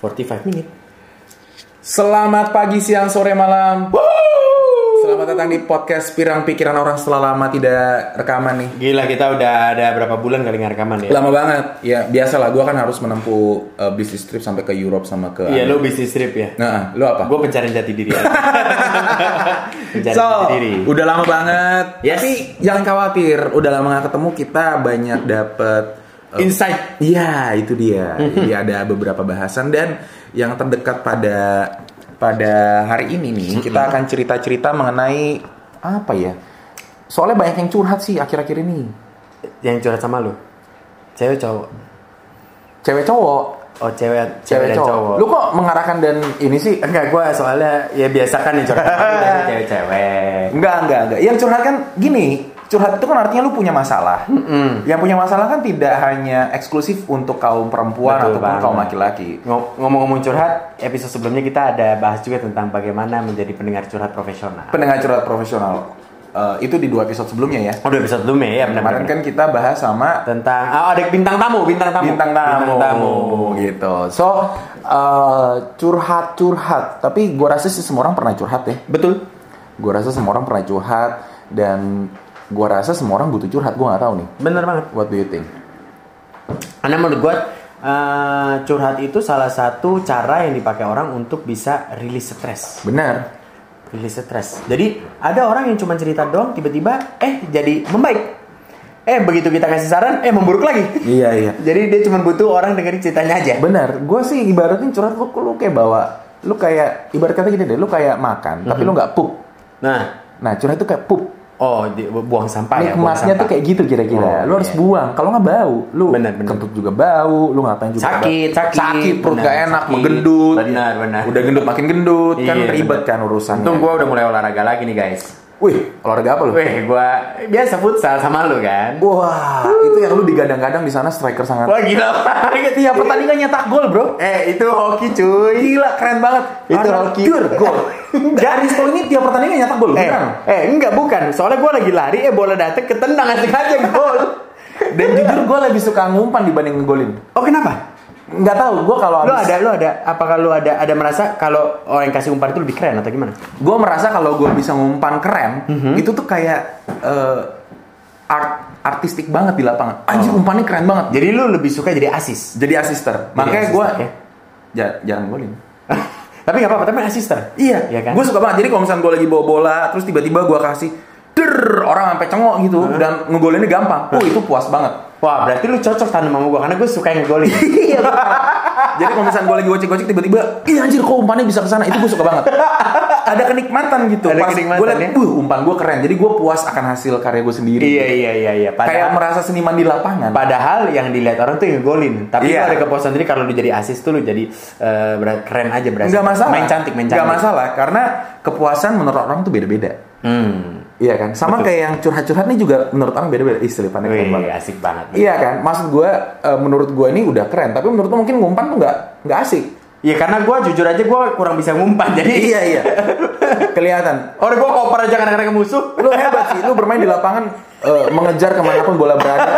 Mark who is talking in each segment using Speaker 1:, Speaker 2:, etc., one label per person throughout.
Speaker 1: 45 menit.
Speaker 2: Selamat pagi, siang, sore, malam. Selamat datang di podcast Pirang Pikiran Orang setelah lama tidak rekaman nih.
Speaker 1: Gila kita udah ada berapa bulan kali nggak rekaman ya?
Speaker 2: Lama banget. Ya, biasalah gua kan harus menempuh uh, bisnis trip sampai ke Europe sama ke
Speaker 1: Iya lo bisnis trip ya.
Speaker 2: Nah, lu apa?
Speaker 1: Gue pencarian jati diri. aja. pencarian
Speaker 2: So,
Speaker 1: jati diri.
Speaker 2: udah lama banget.
Speaker 1: Yes.
Speaker 2: Tapi jangan khawatir, udah lama gak ketemu kita banyak dapet uh,
Speaker 1: Insight.
Speaker 2: Iya, itu dia. Jadi ada beberapa bahasan dan yang terdekat pada pada hari ini nih, kita akan cerita-cerita mengenai apa ya? Soalnya banyak yang curhat sih akhir-akhir ini.
Speaker 1: Yang curhat sama lo. Cewek cowok.
Speaker 2: Cewek cowok,
Speaker 1: Oh cewek, cewek, dan cowok.
Speaker 2: Lu kok mengarahkan dan ini sih?
Speaker 1: Enggak gue soalnya ya biasa kan yang curhat sama lu biasa cewek-cewek.
Speaker 2: Enggak, enggak, enggak. Yang curhat kan gini, curhat itu kan artinya lu punya masalah. Yang punya masalah kan tidak hanya eksklusif untuk kaum perempuan
Speaker 1: Betul
Speaker 2: ataupun
Speaker 1: banget.
Speaker 2: kaum laki-laki.
Speaker 1: Ngo- Ngomong-ngomong curhat, episode sebelumnya kita ada bahas juga tentang bagaimana menjadi pendengar curhat profesional.
Speaker 2: Pendengar curhat profesional. Eh, itu di dua episode sebelumnya ya.
Speaker 1: Oh, udah episode sebelumnya ya,
Speaker 2: Kemarin
Speaker 1: benar-benar.
Speaker 2: kan kita bahas sama
Speaker 1: Tentang ah, ada bintang tamu, bintang tamu.
Speaker 2: bintang tamu,
Speaker 1: Bintang tamu.
Speaker 2: gitu. So eh, curhat-curhat, tapi gua rasa sih semua orang pernah curhat ya.
Speaker 1: Betul.
Speaker 2: Gua rasa semua orang pernah curhat dan gua rasa semua orang butuh curhat. Gua nggak tahu nih.
Speaker 1: Bener banget.
Speaker 2: What do you think?
Speaker 1: Karena menurut gue eh, curhat itu salah satu cara yang dipakai orang untuk bisa rilis stres.
Speaker 2: Benar.
Speaker 1: Rilis stres. Jadi ada orang yang cuma cerita doang, tiba-tiba eh jadi membaik. Eh begitu kita kasih saran, eh memburuk lagi.
Speaker 2: Iya iya.
Speaker 1: Jadi dia cuma butuh orang dengerin ceritanya aja.
Speaker 2: Benar, gue sih ibaratnya curhat lu, lu kayak bawa, lu kayak ibarat kata gini deh, lu kayak makan, tapi lu nggak pup.
Speaker 1: Nah,
Speaker 2: Nah curhat itu kayak pup.
Speaker 1: oh di- buang sampah ya. buang
Speaker 2: Nikmatnya
Speaker 1: sampah.
Speaker 2: tuh kayak gitu
Speaker 1: Oh,
Speaker 2: kira-kira. lu harus
Speaker 1: iya.
Speaker 2: buang, kalau nggak bau, lu
Speaker 1: Benar, benar.
Speaker 2: kentut juga bau, lu ngapain juga
Speaker 1: Sakit,
Speaker 2: bau.
Speaker 1: sakit.
Speaker 2: sakit, perut
Speaker 1: Benar,
Speaker 2: nggak enak,
Speaker 1: sakit.
Speaker 2: menggendut.
Speaker 1: Benar, benar.
Speaker 2: Udah gendut makin gendut, kan
Speaker 1: Iya,
Speaker 2: ribet
Speaker 1: benar.
Speaker 2: kan urusannya.
Speaker 1: Untung gue udah mulai olahraga lagi nih guys.
Speaker 2: Wih, olahraga apa lu?
Speaker 1: Weh, gue biasa futsal sama lu kan.
Speaker 2: Wah, itu yang lu digadang-gadang di sana striker sangat.
Speaker 1: Wah gila banget
Speaker 2: Iya pertandingan nyetak gol bro.
Speaker 1: Eh itu hoki cuy.
Speaker 2: Gila keren banget.
Speaker 1: Itu
Speaker 2: Arnold
Speaker 1: hoki.
Speaker 2: Pure gol. Garis gol ini tiap pertandingan nyetak gol.
Speaker 1: Eh,
Speaker 2: beneran.
Speaker 1: eh enggak bukan. Soalnya gue lagi lari, eh bola dateng ketendang asik aja gol.
Speaker 2: Dan jujur gue lebih suka ngumpan dibanding ngegolin.
Speaker 1: Oh kenapa?
Speaker 2: Nggak tahu gue kalau
Speaker 1: Lo
Speaker 2: abis,
Speaker 1: ada, lo ada. Apakah lo ada ada merasa kalau orang yang kasih umpan itu lebih keren atau gimana?
Speaker 2: gue merasa kalau gue bisa ngumpan keren, itu tuh kayak eh, art artistik banget di lapangan. Anjir umpannya keren banget.
Speaker 1: Jadi lo lebih suka jadi asis.
Speaker 2: Oh. Jadi asisten. Makanya
Speaker 1: asisten,
Speaker 2: gue
Speaker 1: ya.
Speaker 2: jarang golin.
Speaker 1: Tapi nggak apa-apa, tapi asister.
Speaker 2: Iya,
Speaker 1: Iya kan?
Speaker 2: gue suka banget. Jadi kalau misalnya gue lagi bawa bola, terus tiba-tiba gue kasih, der orang sampai cengok gitu, dan ngegolinnya gampang. Oh itu puas banget.
Speaker 1: Wah, berarti lu cocok tandem sama gue karena gue suka yang ngegolin.
Speaker 2: Iya. Jadi kalau misalnya gue lagi gocek-gocek tiba-tiba, ih anjir kok umpannya bisa kesana, itu gue suka banget. Ada kenikmatan gitu.
Speaker 1: Ada
Speaker 2: Pas
Speaker 1: kenikmatan,
Speaker 2: gue liat,
Speaker 1: ya?
Speaker 2: "Wuh, umpan gue keren. Jadi gue puas akan hasil karya gue sendiri.
Speaker 1: iya, iya, iya, iya. Padahal,
Speaker 2: Kayak merasa seniman di lapangan.
Speaker 1: padahal yang dilihat orang tuh yang ngegolin. Tapi
Speaker 2: Iya.
Speaker 1: lu ada kepuasan sendiri kalau lu jadi asis tuh lu jadi eh, ber- keren aja berasa.
Speaker 2: Enggak masalah.
Speaker 1: Main cantik, main cantik.
Speaker 2: Nggak masalah karena kepuasan menurut orang tuh beda-beda.
Speaker 1: Hmm.
Speaker 2: Iya kan? Sama
Speaker 1: Betul.
Speaker 2: kayak yang curhat-curhat nih juga menurut orang beda-beda. Ih, selipannya keren
Speaker 1: Wih,
Speaker 2: banget.
Speaker 1: asik banget.
Speaker 2: Iya kan? Maksud gue, eh, menurut gue ini udah keren. Tapi menurut lo mungkin ngumpan tuh nggak nggak asik.
Speaker 1: Iya, karena gue jujur aja gue kurang bisa ngumpan. Jadi
Speaker 2: iya iya. Kelihatan.
Speaker 1: Orang gue koper aja kadang-kadang ke musuh.
Speaker 2: lu hebat sih lu bermain di lapangan eh, mengejar kemanapun bola berada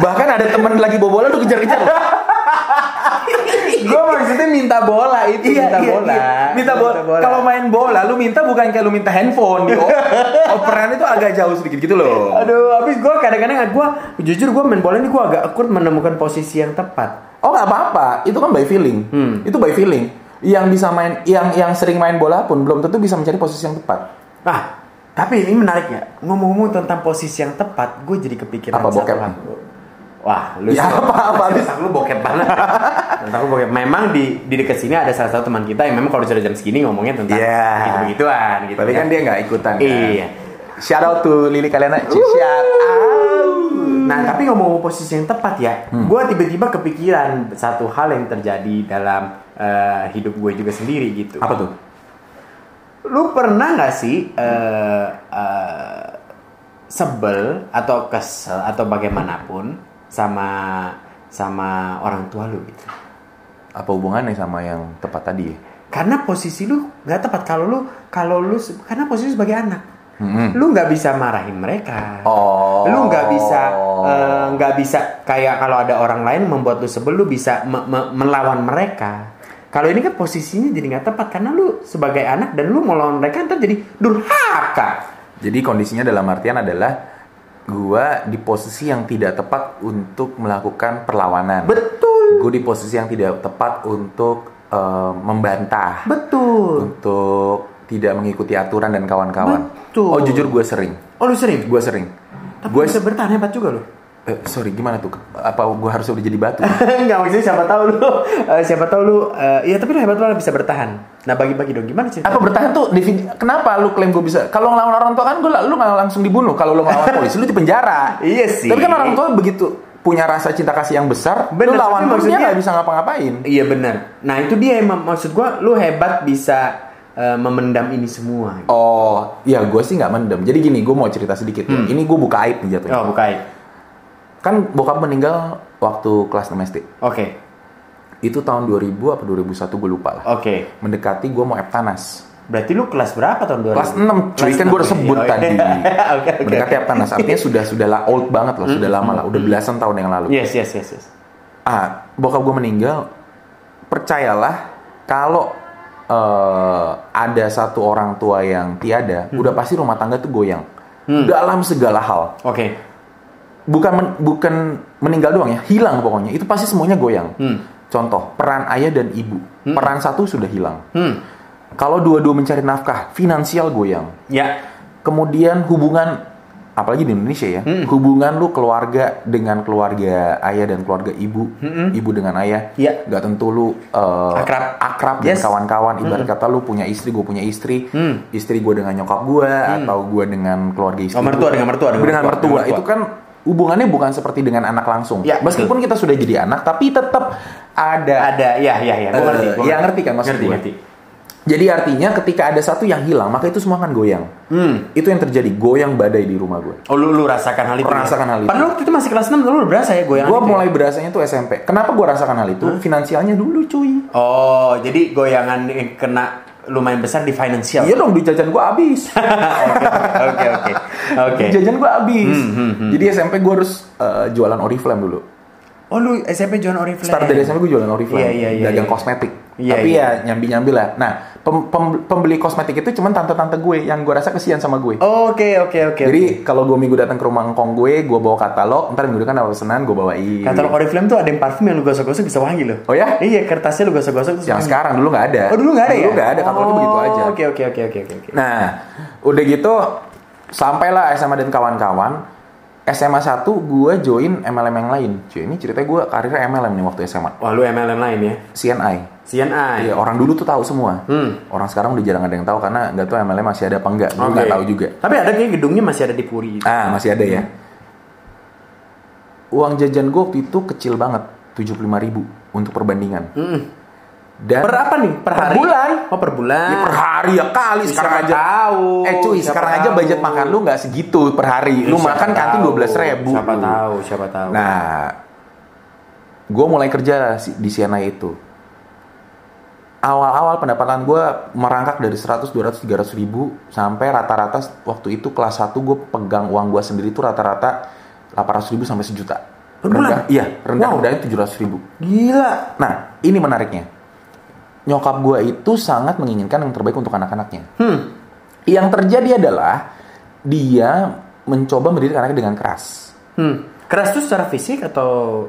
Speaker 2: bahkan ada teman lagi bawa bola lu kejar-kejar loh.
Speaker 1: gue maksudnya minta bola itu, minta, bola.
Speaker 2: Iya, minta bola kalau main bola lu minta bukan kayak lu minta handphone gitu operan itu agak jauh sedikit gitu loh
Speaker 1: Aduh, habis gue kadang-kadang gue jujur gue main bola ini gue agak akur menemukan posisi yang tepat.
Speaker 2: oh nggak apa-apa itu kan by feeling itu by feeling yang bisa main yang yang sering main bola pun belum tentu bisa mencari posisi yang tepat
Speaker 1: Nah, tapi ini menarik ya. Ngomong-ngomong tentang posisi yang tepat, gue jadi kepikiran
Speaker 2: Apa,
Speaker 1: satu
Speaker 2: bokep?
Speaker 1: hal. Wah, lu
Speaker 2: Ya, apa, apa, abis?
Speaker 1: Tentang lu bokep banget. tentang lu bokep. Memang di di dekat sini ada salah satu teman kita yang memang kalau sudah jam segini ngomongnya tentang
Speaker 2: Iya.
Speaker 1: gitu-begituan gitu.
Speaker 2: tapi
Speaker 1: ya.
Speaker 2: kan dia nggak ikutan kan?
Speaker 1: Iya.
Speaker 2: shout out to Lili Kaliana shout out
Speaker 1: Nah, tapi ngomong posisi yang tepat ya, gue tiba-tiba kepikiran satu hal yang terjadi dalam eh, hidup gue juga sendiri gitu.
Speaker 2: apa tuh
Speaker 1: Lu pernah nggak sih eh, eh, sebel atau kesel atau bagaimanapun sama sama orang tua lu gitu?
Speaker 2: apa hubungannya sama yang tepat tadi ya?
Speaker 1: Karena posisi lu nggak tepat kalau lu kalau lu se- karena posisi lu sebagai anak. lu nggak bisa marahin mereka
Speaker 2: Oh.
Speaker 1: lu nggak bisa eh, nggak bisa kayak kalau ada orang lain membuat lu sebel lu bisa me- me- melawan mereka kalau ini kan posisinya jadi nggak tepat karena lu sebagai anak dan lu melawan mereka ntar jadi durhaka
Speaker 2: Jadi kondisinya dalam artian adalah gua di posisi yang tidak tepat untuk melakukan perlawanan.
Speaker 1: betul
Speaker 2: Gua di posisi yang tidak tepat untuk eh, membantah,
Speaker 1: betul
Speaker 2: untuk tidak mengikuti aturan dan kawan-kawan.
Speaker 1: Betul.
Speaker 2: Oh jujur gue sering,
Speaker 1: oh lu sering
Speaker 2: gue sering.
Speaker 1: tapi
Speaker 2: Gue
Speaker 1: bisa bertahan hebat juga lu
Speaker 2: sorry gimana tuh? Apa gue harus udah jadi batu?
Speaker 1: nggak maksudnya siapa tahu lu eh, siapa tahu lu eh, ya tapi lu hebat banget bisa bertahan nah bagi-bagi dong gimana sih
Speaker 2: Apa bertahan tuh? defini- Kenapa lu klaim gue bisa? Kalau ngelawan orang tua kan gue lu nggak langsung dibunuh. Kalau lu ngelawan polisi lu di penjara.
Speaker 1: Iya sih.
Speaker 2: Tapi kan orang tua begitu punya rasa cinta kasih yang besar,
Speaker 1: Bener,
Speaker 2: lu
Speaker 1: tapi
Speaker 2: lawan pun dia
Speaker 1: maksudnya-
Speaker 2: nggak bisa ngapa-ngapain.
Speaker 1: Iya benar. Nah itu dia yang mak- maksud gua lu hebat bisa eh, memendam ini semua.
Speaker 2: Oh, ya gue sih nggak mendem. Jadi gini, gue mau cerita sedikit. ya. Ini gue buka aib nih jatuhnya.
Speaker 1: Oh buka aib.
Speaker 2: Kan bokap meninggal waktu kelas domestik.
Speaker 1: Oke
Speaker 2: Itu tahun 2000 apa 2001 gue lupa lah.
Speaker 1: oke.
Speaker 2: Mendekati gue mau Eptanas.
Speaker 1: Berarti lu kelas berapa tahun 2000?
Speaker 2: Kelas 6, cuy. Kan gue udah sebut tadi.
Speaker 1: iya. Oke oke.
Speaker 2: Mendekati Eptanas. Artinya sudah sudah lah old banget lah. Sudah lama lah. Udah belasan tahun yang lalu.
Speaker 1: Yes yes yes yes.
Speaker 2: Ah, bokap gue meninggal. Percayalah, kalau eh, ada satu orang tua yang tiada, udah pasti rumah tangga tuh goyang. Dalam segala hal.
Speaker 1: Oke.
Speaker 2: bukan men- bukan meninggal doang ya, hilang pokoknya. Itu pasti semuanya goyang.
Speaker 1: Hmm.
Speaker 2: Contoh, peran ayah dan ibu. Peran satu sudah hilang.
Speaker 1: Hmm.
Speaker 2: Kalau dua-dua mencari nafkah, finansial goyang.
Speaker 1: Ya.
Speaker 2: Kemudian hubungan apalagi di Indonesia ya,
Speaker 1: Hmm.
Speaker 2: hubungan lu keluarga dengan keluarga ayah dan keluarga ibu, ibu dengan ayah,
Speaker 1: Iya.
Speaker 2: nggak tentu lu eh,
Speaker 1: Akrab.
Speaker 2: akrab
Speaker 1: Yes.
Speaker 2: dan kawan-kawan. Ibarat kata lu punya istri, gue punya istri,
Speaker 1: Hmm.
Speaker 2: istri gue dengan nyokap gue atau gue dengan keluarga
Speaker 1: Oh,
Speaker 2: istri.
Speaker 1: mertua
Speaker 2: gua.
Speaker 1: dengan mertua, dengan
Speaker 2: dengan
Speaker 1: mertua,
Speaker 2: mertua.
Speaker 1: dengan mertua.
Speaker 2: Itu kan hubungannya bukan seperti dengan anak langsung.
Speaker 1: Ya,
Speaker 2: Meskipun kita sudah jadi anak, tapi tetap ada.
Speaker 1: Ada ya ya ya. Gua
Speaker 2: Eh,
Speaker 1: ngerti. gua
Speaker 2: ya, ngerti kan maksud
Speaker 1: ngerti,
Speaker 2: gua?
Speaker 1: ngerti.
Speaker 2: Jadi artinya ketika ada satu yang hilang, maka itu semua akan goyang.
Speaker 1: Hmm.
Speaker 2: Itu yang terjadi, goyang badai di rumah gue.
Speaker 1: Oh lu, lu rasakan hal itu. ya?
Speaker 2: Rasakan hal itu.
Speaker 1: Padahal waktu itu masih kelas 6 lu udah berasa ya goyangan.
Speaker 2: Gue
Speaker 1: itu ya?
Speaker 2: mulai berasanya tuh SMP. Kenapa gue rasakan hal itu? Finansialnya dulu cuy.
Speaker 1: Oh jadi goyangan yang kena lumayan besar di financial.
Speaker 2: Iya dong, duit jajan gue habis.
Speaker 1: Oke oke oke. Hmm,
Speaker 2: Duit jajan gue habis. Jadi SMP gue harus eh, jualan Oriflame dulu.
Speaker 1: Oh lu SMP join Oriflame.
Speaker 2: Start dari SMP gue jualan Oriflame,
Speaker 1: Iya, iya, iya,
Speaker 2: dagang
Speaker 1: iya.
Speaker 2: kosmetik.
Speaker 1: Iya,
Speaker 2: Tapi
Speaker 1: iya.
Speaker 2: ya nyambi-nyambi lah. Nah, pem- pem- pembeli kosmetik itu cuman tante-tante gue yang gue rasa kesian sama
Speaker 1: Oh,
Speaker 2: gue.
Speaker 1: Oke oke oke.
Speaker 2: Jadi
Speaker 1: oke.
Speaker 2: kalau gue minggu datang ke rumah ngkong gue, gue bawa katalog, ntar minggu depan ada pesanan gue bawain.
Speaker 1: katalog Oriflame tuh ada yang parfum yang lu gosok-gosok bisa wangi loh.
Speaker 2: Oh ya?
Speaker 1: Iya kertasnya lu gosok-gosok terus
Speaker 2: Yang
Speaker 1: wangi.
Speaker 2: sekarang dulu nggak ada.
Speaker 1: Oh dulu nggak ada ya?
Speaker 2: Dulu nggak ada, katalognya begitu aja.
Speaker 1: Oke oke oke oke oke. oke.
Speaker 2: Nah, udah gitu sampailah SMA dan kawan-kawan. SMA 1 gue join MLM yang lain. Cuy, ini ceritanya gue karirnya MLM nih waktu SMA.
Speaker 1: Wah lu MLM lain ya?
Speaker 2: CNI.
Speaker 1: CNI.
Speaker 2: Iya, orang dulu tuh tahu semua.
Speaker 1: Hmm.
Speaker 2: Orang sekarang udah jarang ada yang tahu karena nggak tahu MLM masih ada apa enggak. Gue
Speaker 1: Oke.
Speaker 2: nggak tahu juga.
Speaker 1: Tapi ada kayak gedungnya masih ada di Puri.
Speaker 2: Ah, masih ada ya. Uang jajan gue waktu itu kecil banget, 75.000 ribu untuk perbandingan. Dan
Speaker 1: Per apa nih? Per
Speaker 2: Per
Speaker 1: hari?
Speaker 2: bulan.
Speaker 1: Oh per bulan.
Speaker 2: Ya, per hari ya kali
Speaker 1: Siapa
Speaker 2: sekarang aja.
Speaker 1: tahu,
Speaker 2: Eh cuy,
Speaker 1: siapa
Speaker 2: sekarang aja
Speaker 1: tahu.
Speaker 2: budget makan lu nggak segitu per hari. Lu
Speaker 1: Siapa
Speaker 2: makan kantin
Speaker 1: tahu,
Speaker 2: 12.000 ribu.
Speaker 1: Siapa tahu? Siapa tahu?
Speaker 2: Nah, gue mulai kerja si- di Siena itu. Awal-awal pendapatan gue merangkak dari 100, 200, 300 ribu sampai rata-rata waktu itu kelas 1 gue pegang uang gue sendiri itu rata-rata 800 ribu sampai sejuta.
Speaker 1: Per bulan?
Speaker 2: Rendah- Iya, rendah
Speaker 1: Wow.
Speaker 2: rendahnya 700 ribu.
Speaker 1: gila.
Speaker 2: Nah, ini menariknya. Nyokap gue itu sangat menginginkan yang terbaik untuk anak-anaknya.
Speaker 1: Hmm.
Speaker 2: Yang terjadi adalah dia mencoba mendidik anaknya dengan keras.
Speaker 1: Hmm. Keras tuh secara fisik atau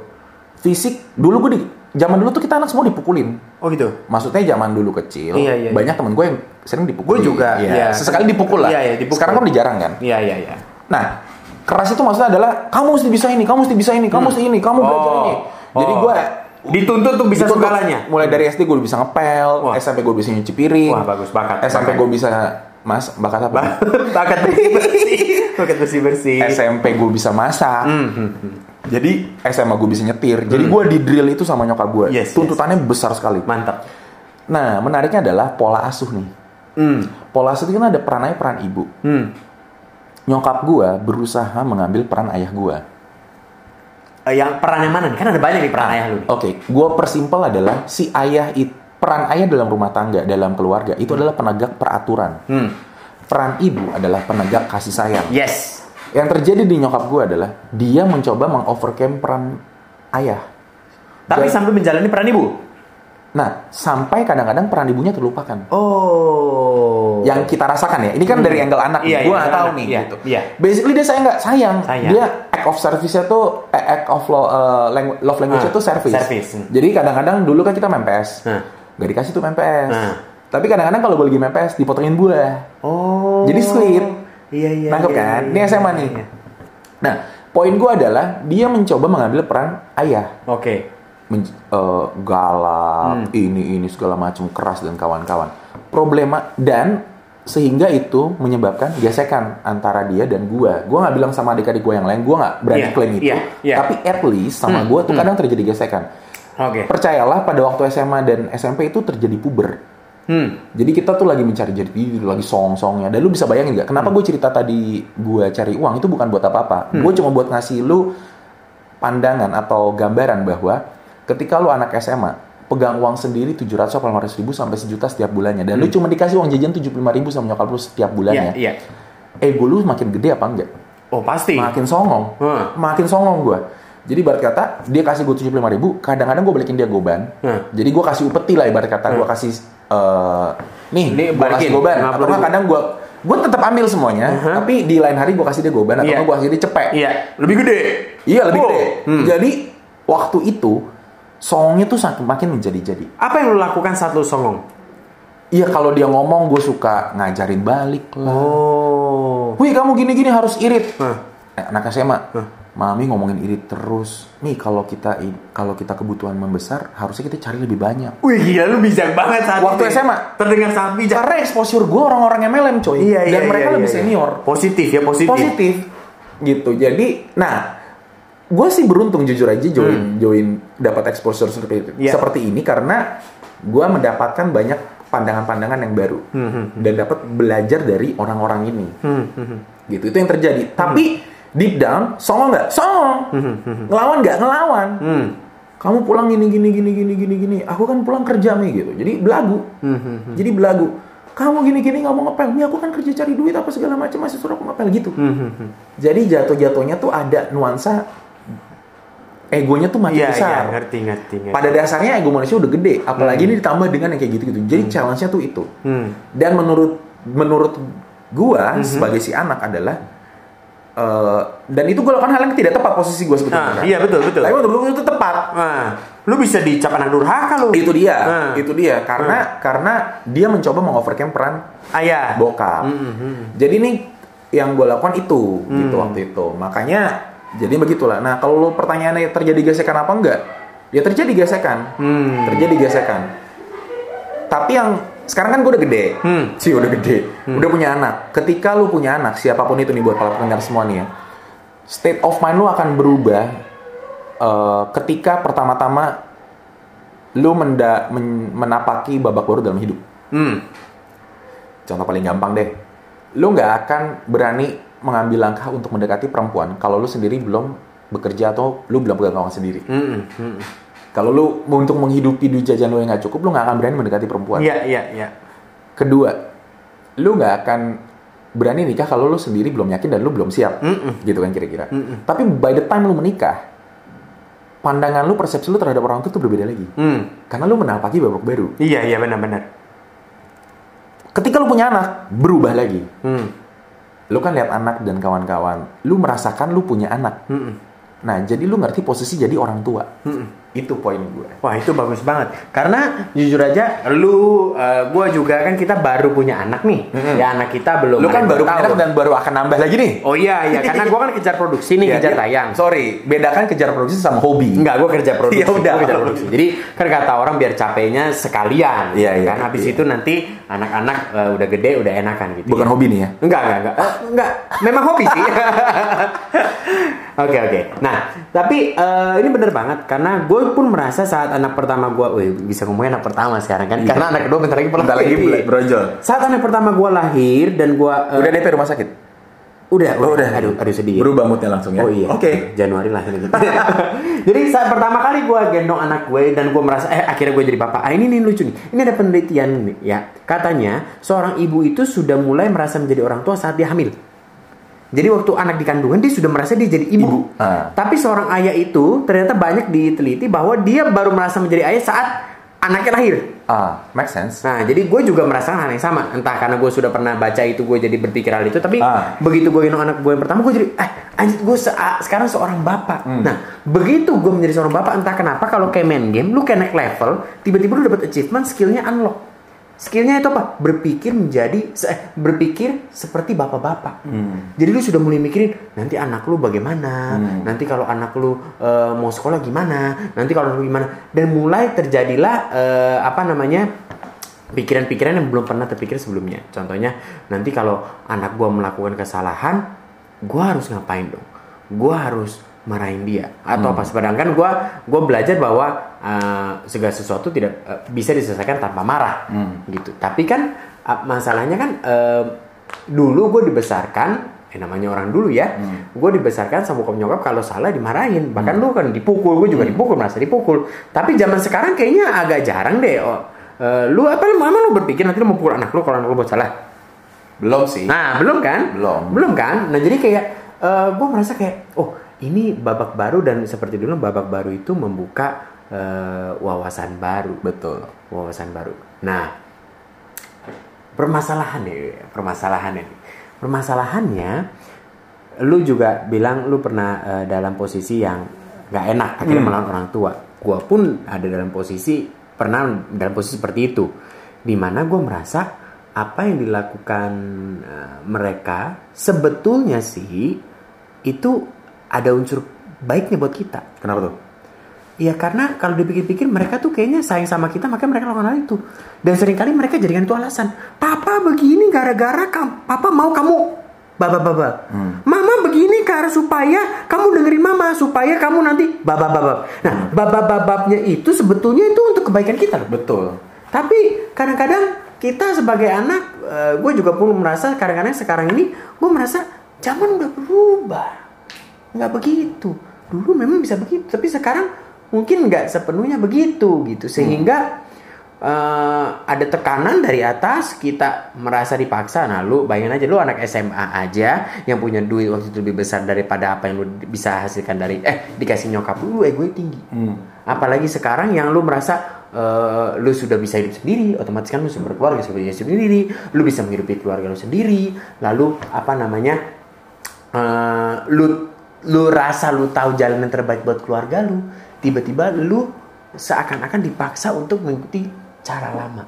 Speaker 2: fisik dulu gue di zaman dulu tuh kita anak semua dipukulin
Speaker 1: oh gitu?
Speaker 2: maksudnya zaman dulu kecil
Speaker 1: Iya, iya, iya.
Speaker 2: banyak temen gue yang sering dipukul
Speaker 1: Gue juga, iya.
Speaker 2: ya. sesekali dipukul lah
Speaker 1: Iya, iya, dipukul.
Speaker 2: sekarang kan udah jarang kan
Speaker 1: Iya iya iya.
Speaker 2: nah keras itu maksudnya adalah kamu mesti bisa ini kamu mesti bisa ini kamu mesti ini kamu belajar
Speaker 1: Hmm. Oh.
Speaker 2: ini jadi
Speaker 1: Oh.
Speaker 2: gue
Speaker 1: Dituntut tuh bisa
Speaker 2: dituntut.
Speaker 1: segalanya.
Speaker 2: mulai dari SD gue udah bisa ngepel
Speaker 1: Wah.
Speaker 2: SMP gue bisa nyuci piring
Speaker 1: Wah, bagus, bakat.
Speaker 2: SMP
Speaker 1: Bakat.
Speaker 2: gue bisa mas bakat apa
Speaker 1: Bakat bersih bersih. Bakat bersih bersih.
Speaker 2: SMP gue bisa masak.
Speaker 1: Hmm,
Speaker 2: Jadi SMA gue bisa nyetir. Jadi gue di drill itu sama nyokap gue.
Speaker 1: Yes,
Speaker 2: Tuntutannya besar sekali.
Speaker 1: Mantap.
Speaker 2: Nah, menariknya adalah pola asuh nih.
Speaker 1: Hmm.
Speaker 2: Pola asuh itu kan ada peran ayah, peran ibu.
Speaker 1: Hmm.
Speaker 2: Nyokap gue berusaha mengambil peran ayah gue.
Speaker 1: Eh, yang peran yang mana nih? Kan ada banyak nih peran ayah lu. nih.
Speaker 2: Oke, gue persimpel adalah si ayah itu peran ayah dalam rumah tangga, dalam keluarga itu adalah penegak peraturan.
Speaker 1: Hmm.
Speaker 2: peran ibu adalah penegak kasih sayang.
Speaker 1: Yes.
Speaker 2: Yang terjadi di nyokap gue adalah dia mencoba mengovercame peran ayah.
Speaker 1: Tapi
Speaker 2: Dan-
Speaker 1: sambil menjalani peran ibu.
Speaker 2: Nah, sampai kadang-kadang peran ibunya terlupakan.
Speaker 1: Oh.
Speaker 2: Yang kita rasakan ya, ini kan dari angle anak,
Speaker 1: Iya, iya,
Speaker 2: gue nggak
Speaker 1: dari
Speaker 2: tahu
Speaker 1: anak.
Speaker 2: nih.
Speaker 1: Iya,
Speaker 2: gitu.
Speaker 1: iya.
Speaker 2: Basically dia saya nggak sayang.
Speaker 1: Sayang.
Speaker 2: Dia act of service-nya tuh, eh, act of lo- eh, langu- love language-nya
Speaker 1: Ah,
Speaker 2: tuh service.
Speaker 1: service. Hmm.
Speaker 2: Jadi kadang-kadang dulu kan kita main PS,
Speaker 1: Ah.
Speaker 2: nggak dikasih tuh main PS.
Speaker 1: Ah.
Speaker 2: Tapi kadang-kadang kalau gue lagi main PS, dipotongin buah.
Speaker 1: Oh.
Speaker 2: Jadi sweet.
Speaker 1: Iya iya.
Speaker 2: Nangkep
Speaker 1: iya,
Speaker 2: kan?
Speaker 1: iya,
Speaker 2: Ini
Speaker 1: iya,
Speaker 2: SMA
Speaker 1: iya,
Speaker 2: nih.
Speaker 1: iya.
Speaker 2: Nah, poin gue adalah dia mencoba mengambil peran ayah,
Speaker 1: Oke.
Speaker 2: Men- eh,
Speaker 1: Hmm.
Speaker 2: galak, ini ini segala macam keras dan kawan-kawan. Problema dan sehingga itu menyebabkan gesekan antara dia dan gua. Gua nggak bilang sama adik-adik gua yang lain, gua nggak berani
Speaker 1: Iya,
Speaker 2: klaim itu.
Speaker 1: iya, iya. Hmm,
Speaker 2: Tapi at least sama gua tuh kadang terjadi gesekan.
Speaker 1: Oke.
Speaker 2: Percayalah pada waktu SMA dan SMP itu terjadi puber.
Speaker 1: Hmm.
Speaker 2: Jadi kita tuh lagi mencari jati diri, lagi song-songnya. Dan lu bisa bayangin nggak?
Speaker 1: Hmm.
Speaker 2: Kenapa gue cerita tadi gue cari uang itu bukan buat apa-apa. Gue cuma buat ngasih lu pandangan atau gambaran bahwa ketika lu anak SMA, pegang uang sendiri 700 sampai 500 ribu sampai sejuta setiap bulannya. Dan lu cuma dikasih uang jajan 75 ribu sama nyokap lu setiap
Speaker 1: Hmm. Iya
Speaker 2: bulannya.
Speaker 1: iya.
Speaker 2: Ego lu makin gede apa enggak?
Speaker 1: Oh pasti.
Speaker 2: Makin songong.
Speaker 1: Hmm.
Speaker 2: Makin songong gue. Jadi ibarat kata dia kasih gue 75 ribu, kadang-kadang gue balikin dia goban.
Speaker 1: Hmm.
Speaker 2: Jadi gue kasih upeti lah ibarat kata gue kasih eh, nih
Speaker 1: Ini
Speaker 2: gue kasih
Speaker 1: balikin,
Speaker 2: goban.
Speaker 1: 50
Speaker 2: Atau nggak
Speaker 1: ribu.
Speaker 2: kadang gue gue tetap ambil semuanya, tapi di lain hari gue kasih dia goban atau
Speaker 1: Iya.
Speaker 2: nggak gue kasih dia cepek.
Speaker 1: Iya. Lebih gede.
Speaker 2: Iya lebih
Speaker 1: Wow.
Speaker 2: gede.
Speaker 1: Hmm.
Speaker 2: Jadi waktu itu songnya tuh sak- makin menjadi-jadi.
Speaker 1: Apa yang lo lakukan saat lo songong?
Speaker 2: Iya kalau dia ngomong gue suka ngajarin balik lah.
Speaker 1: Oh.
Speaker 2: Wih kamu gini-gini harus irit.
Speaker 1: Hah.
Speaker 2: Eh, anak SMA mami ngomongin irit terus nih kalau kita i- kalau kita kebutuhan membesar harusnya kita cari lebih banyak
Speaker 1: Wih gila lu bijak banget saat
Speaker 2: Waktu
Speaker 1: itu.
Speaker 2: SMA.
Speaker 1: Terdengar sangat bijak.
Speaker 2: karena exposure gue orang-orang MLM coy dan mereka lebih
Speaker 1: iya.
Speaker 2: senior
Speaker 1: Positif ya positif.
Speaker 2: positif gitu jadi nah gue sih beruntung jujur aja join join dapat exposure seperti itu-
Speaker 1: Iya.
Speaker 2: seperti ini karena gue mendapatkan banyak pandangan-pandangan yang baru dan dapat belajar dari orang-orang ini gitu itu yang terjadi tapi deep down songong nggak songong ngelawan nggak ngelawan
Speaker 1: Hmm.
Speaker 2: kamu pulang gini gini gini gini gini gini aku kan pulang kerja mi gitu jadi belagu
Speaker 1: Hmm,
Speaker 2: jadi belagu kamu gini gini nggak mau ngepel mi aku kan kerja cari duit apa segala macam masih suruh aku ngepel gitu
Speaker 1: Hmm,
Speaker 2: jadi jatuh jatuhnya tuh ada nuansa egonya tuh makin
Speaker 1: Iya
Speaker 2: besar
Speaker 1: iya ngerti ngerti. ngerti.
Speaker 2: pada dasarnya ego manusia udah gede apalagi ini ditambah dengan yang kayak gitu gitu jadi challenge-nya tuh itu
Speaker 1: Hmm.
Speaker 2: dan menurut menurut gua sebagai si anak adalah eh, dan itu gua lakukan hal yang tidak tepat posisi gua sebetulnya
Speaker 1: Ah,
Speaker 2: kan.
Speaker 1: iya betul betul.
Speaker 2: tapi menurut gua itu tepat
Speaker 1: Nah, lu bisa dicap anak durhaka lu.
Speaker 2: itu dia
Speaker 1: Ah.
Speaker 2: itu dia karena karena dia mencoba mengovercame peran
Speaker 1: Ayah.
Speaker 2: bokap. Jadi nih yang gue lakukan itu gitu waktu itu. Makanya jadi begitulah. Nah kalau pertanyaannya terjadi gesekan apa enggak? Ya terjadi gesekan,
Speaker 1: Hmm.
Speaker 2: terjadi gesekan. Tapi yang sekarang kan gue udah gede,
Speaker 1: Hmm.
Speaker 2: sih udah gede, udah punya anak. Ketika lu punya anak, siapapun itu nih buat para pendengar semua nih ya, state of mind lu akan berubah eh, ketika pertama-tama lu menda- men- menapaki babak baru dalam hidup
Speaker 1: Hmm.
Speaker 2: contoh paling gampang deh lu nggak akan berani mengambil langkah untuk mendekati perempuan kalau lu sendiri belum bekerja atau lu belum pegang uang sendiri
Speaker 1: Hmm. hmm.
Speaker 2: kalau lu untuk menghidupi duit jajan lu yang nggak cukup lu nggak akan berani mendekati perempuan
Speaker 1: Iya iya iya.
Speaker 2: kedua lu nggak akan berani nikah kalau lu sendiri belum yakin dan lu belum siap
Speaker 1: Mm-mm.
Speaker 2: gitu kan kira-kira
Speaker 1: Mm-mm.
Speaker 2: tapi by the time lu menikah pandangan lu persepsi lu terhadap orang itu tuh berbeda lagi
Speaker 1: Hmm.
Speaker 2: karena lu menapaki babak baru
Speaker 1: Iya iya benar benar.
Speaker 2: ketika lu punya anak berubah lagi
Speaker 1: Hmm.
Speaker 2: lu kan lihat anak dan kawan-kawan, lu merasakan lu punya anak.
Speaker 1: Hmm.
Speaker 2: Nah, jadi lu ngerti posisi jadi orang tua. Itu poin gue.
Speaker 1: Wah itu bagus banget karena jujur aja lu eh, gua juga kan kita baru punya anak nih ya anak kita belum
Speaker 2: Lu kan
Speaker 1: ada
Speaker 2: baru
Speaker 1: dua
Speaker 2: punya anak
Speaker 1: tahun.
Speaker 2: dan baru akan nambah lagi nih.
Speaker 1: oh iya iya karena gua kan kejar produksi nih
Speaker 2: Iya,
Speaker 1: kejar
Speaker 2: dia-
Speaker 1: tayang
Speaker 2: Sorry, bedakan kejar produksi sama hobi.
Speaker 1: Enggak, gue kerja produksi.
Speaker 2: Ya udah.
Speaker 1: Gua kerja produksi. Jadi kan kata orang biar capeknya sekalian.
Speaker 2: Iya, iya,
Speaker 1: kan habis
Speaker 2: iya.
Speaker 1: itu nanti anak-anak eh, udah gede, udah enakan gitu.
Speaker 2: Bukan hobi nih ya.
Speaker 1: Enggak, enggak, enggak. Eh, enggak. Memang hobi sih. Oke, oke. Nah, tapi eh, ini bener banget karena gue pun merasa saat anak pertama gue, wih bisa ngomongin anak pertama sekarang kan? Karena anak kedua bentar lagi
Speaker 2: Iya. Bentar lagi
Speaker 1: lahir.
Speaker 2: bro- brojol.
Speaker 1: Saat anak pertama gue lahir dan gue
Speaker 2: Udah DP rumah sakit.
Speaker 1: Udah,
Speaker 2: Oh, Eh. udah.
Speaker 1: Aduh, aduh sedih. ya.
Speaker 2: Berubah moodnya langsung ya.
Speaker 1: Oh iya.
Speaker 2: Oke.
Speaker 1: Januari lahir gitu. jadi saat pertama kali gue gendong anak gue dan gue merasa eh akhirnya gue jadi bapak. Ah ini nih lucu nih. Ini ada penelitian nih ya. Katanya seorang ibu itu sudah mulai merasa menjadi orang tua saat dia hamil. Jadi waktu anak di kandungan dia sudah merasa dia jadi ibu.
Speaker 2: Ibu, ah.
Speaker 1: Tapi seorang ayah itu ternyata banyak diteliti bahwa dia baru merasa menjadi ayah saat anaknya lahir.
Speaker 2: Ah, make sense.
Speaker 1: Nah, jadi gue juga merasakan hal yang sama. Entah karena gue sudah pernah baca itu, gue jadi berpikir hal itu. Tapi
Speaker 2: Ah.
Speaker 1: begitu gue gendong anak gue yang pertama, gue jadi, eh, anjir gue se- sekarang seorang bapak. Nah, begitu gue menjadi seorang bapak, entah kenapa kalau kayak main game, lu kayak naik level, tiba-tiba lu dapat achievement, skillnya unlock. Skillnya itu apa? Berpikir menjadi, se- eh, berpikir seperti bapak-bapak. Jadi lu sudah mulai mikirin nanti anak lu bagaimana, nanti kalau anak lu eh, mau sekolah gimana, nanti kalau anak lu gimana, dan mulai terjadilah eh, apa namanya pikiran-pikiran yang belum pernah terpikir sebelumnya. Contohnya nanti kalau anak gua melakukan kesalahan, gua harus ngapain dong? Gua harus marahin dia atau apa? Sedangkan gua gua belajar bahwa eh, segala sesuatu tidak eh, bisa diselesaikan tanpa marah, gitu. Tapi kan ah, masalahnya kan eh, dulu gue dibesarkan eh namanya orang dulu ya, gue dibesarkan sama bokap nyokap kalau salah dimarahin, bahkan lu kan dipukul, gue juga dipukul merasa dipukul. Tapi zaman sekarang kayaknya agak jarang deh. Oh, Eh, lu apa mama lu berpikir nanti lu mau pukul anak lu kalau anak lu buat salah
Speaker 2: Belum sih.
Speaker 1: nah belum kan
Speaker 2: Belum.
Speaker 1: belum kan nah jadi kayak gue merasa kayak oh ini babak baru dan seperti dulu babak baru itu membuka eh, wawasan baru
Speaker 2: Betul.
Speaker 1: wawasan baru nah permasalahan nih permasalahan nih permasalahannya lu juga bilang lu pernah eh, dalam posisi yang nggak enak akhirnya melawan orang tua gua pun ada dalam posisi pernah dalam posisi seperti itu dimana gua merasa apa yang dilakukan eh, mereka sebetulnya sih itu ada unsur baiknya buat kita
Speaker 2: Kenapa tuh?
Speaker 1: Iya karena kalau dipikir-pikir mereka tuh kayaknya sayang sama kita makanya mereka lakukan hal itu. Dan seringkali mereka jadikan itu alasan. Papa begini gara-gara kam- papa mau kamu baba-baba. Mama begini karena supaya kamu dengerin mama supaya kamu nanti baba-baba. Nah baba-bababnya itu sebetulnya itu untuk kebaikan kita loh.
Speaker 2: Betul.
Speaker 1: Tapi kadang-kadang kita sebagai anak, gue juga perlu merasa kadang-kadang sekarang ini gue merasa zaman udah berubah, nggak begitu. Dulu memang bisa begitu, tapi sekarang mungkin nggak sepenuhnya begitu gitu, sehingga eh, ada tekanan dari atas kita merasa dipaksa. Nah lu bayangin aja lu anak SMA aja yang punya duit waktu itu lebih besar daripada apa yang lu bisa hasilkan dari eh dikasih nyokap lu, lu egonya tinggi. Apalagi sekarang yang lu merasa eh, lu sudah bisa hidup sendiri, otomatis kan lu sudah berkeluarga sudah bisa hidup sendiri, lu bisa menghidupi keluarga lu sendiri, lalu apa namanya, eh, lu lu rasa lu tahu jalan yang terbaik buat keluarga lu, tiba-tiba lu seakan-akan dipaksa untuk mengikuti cara lama.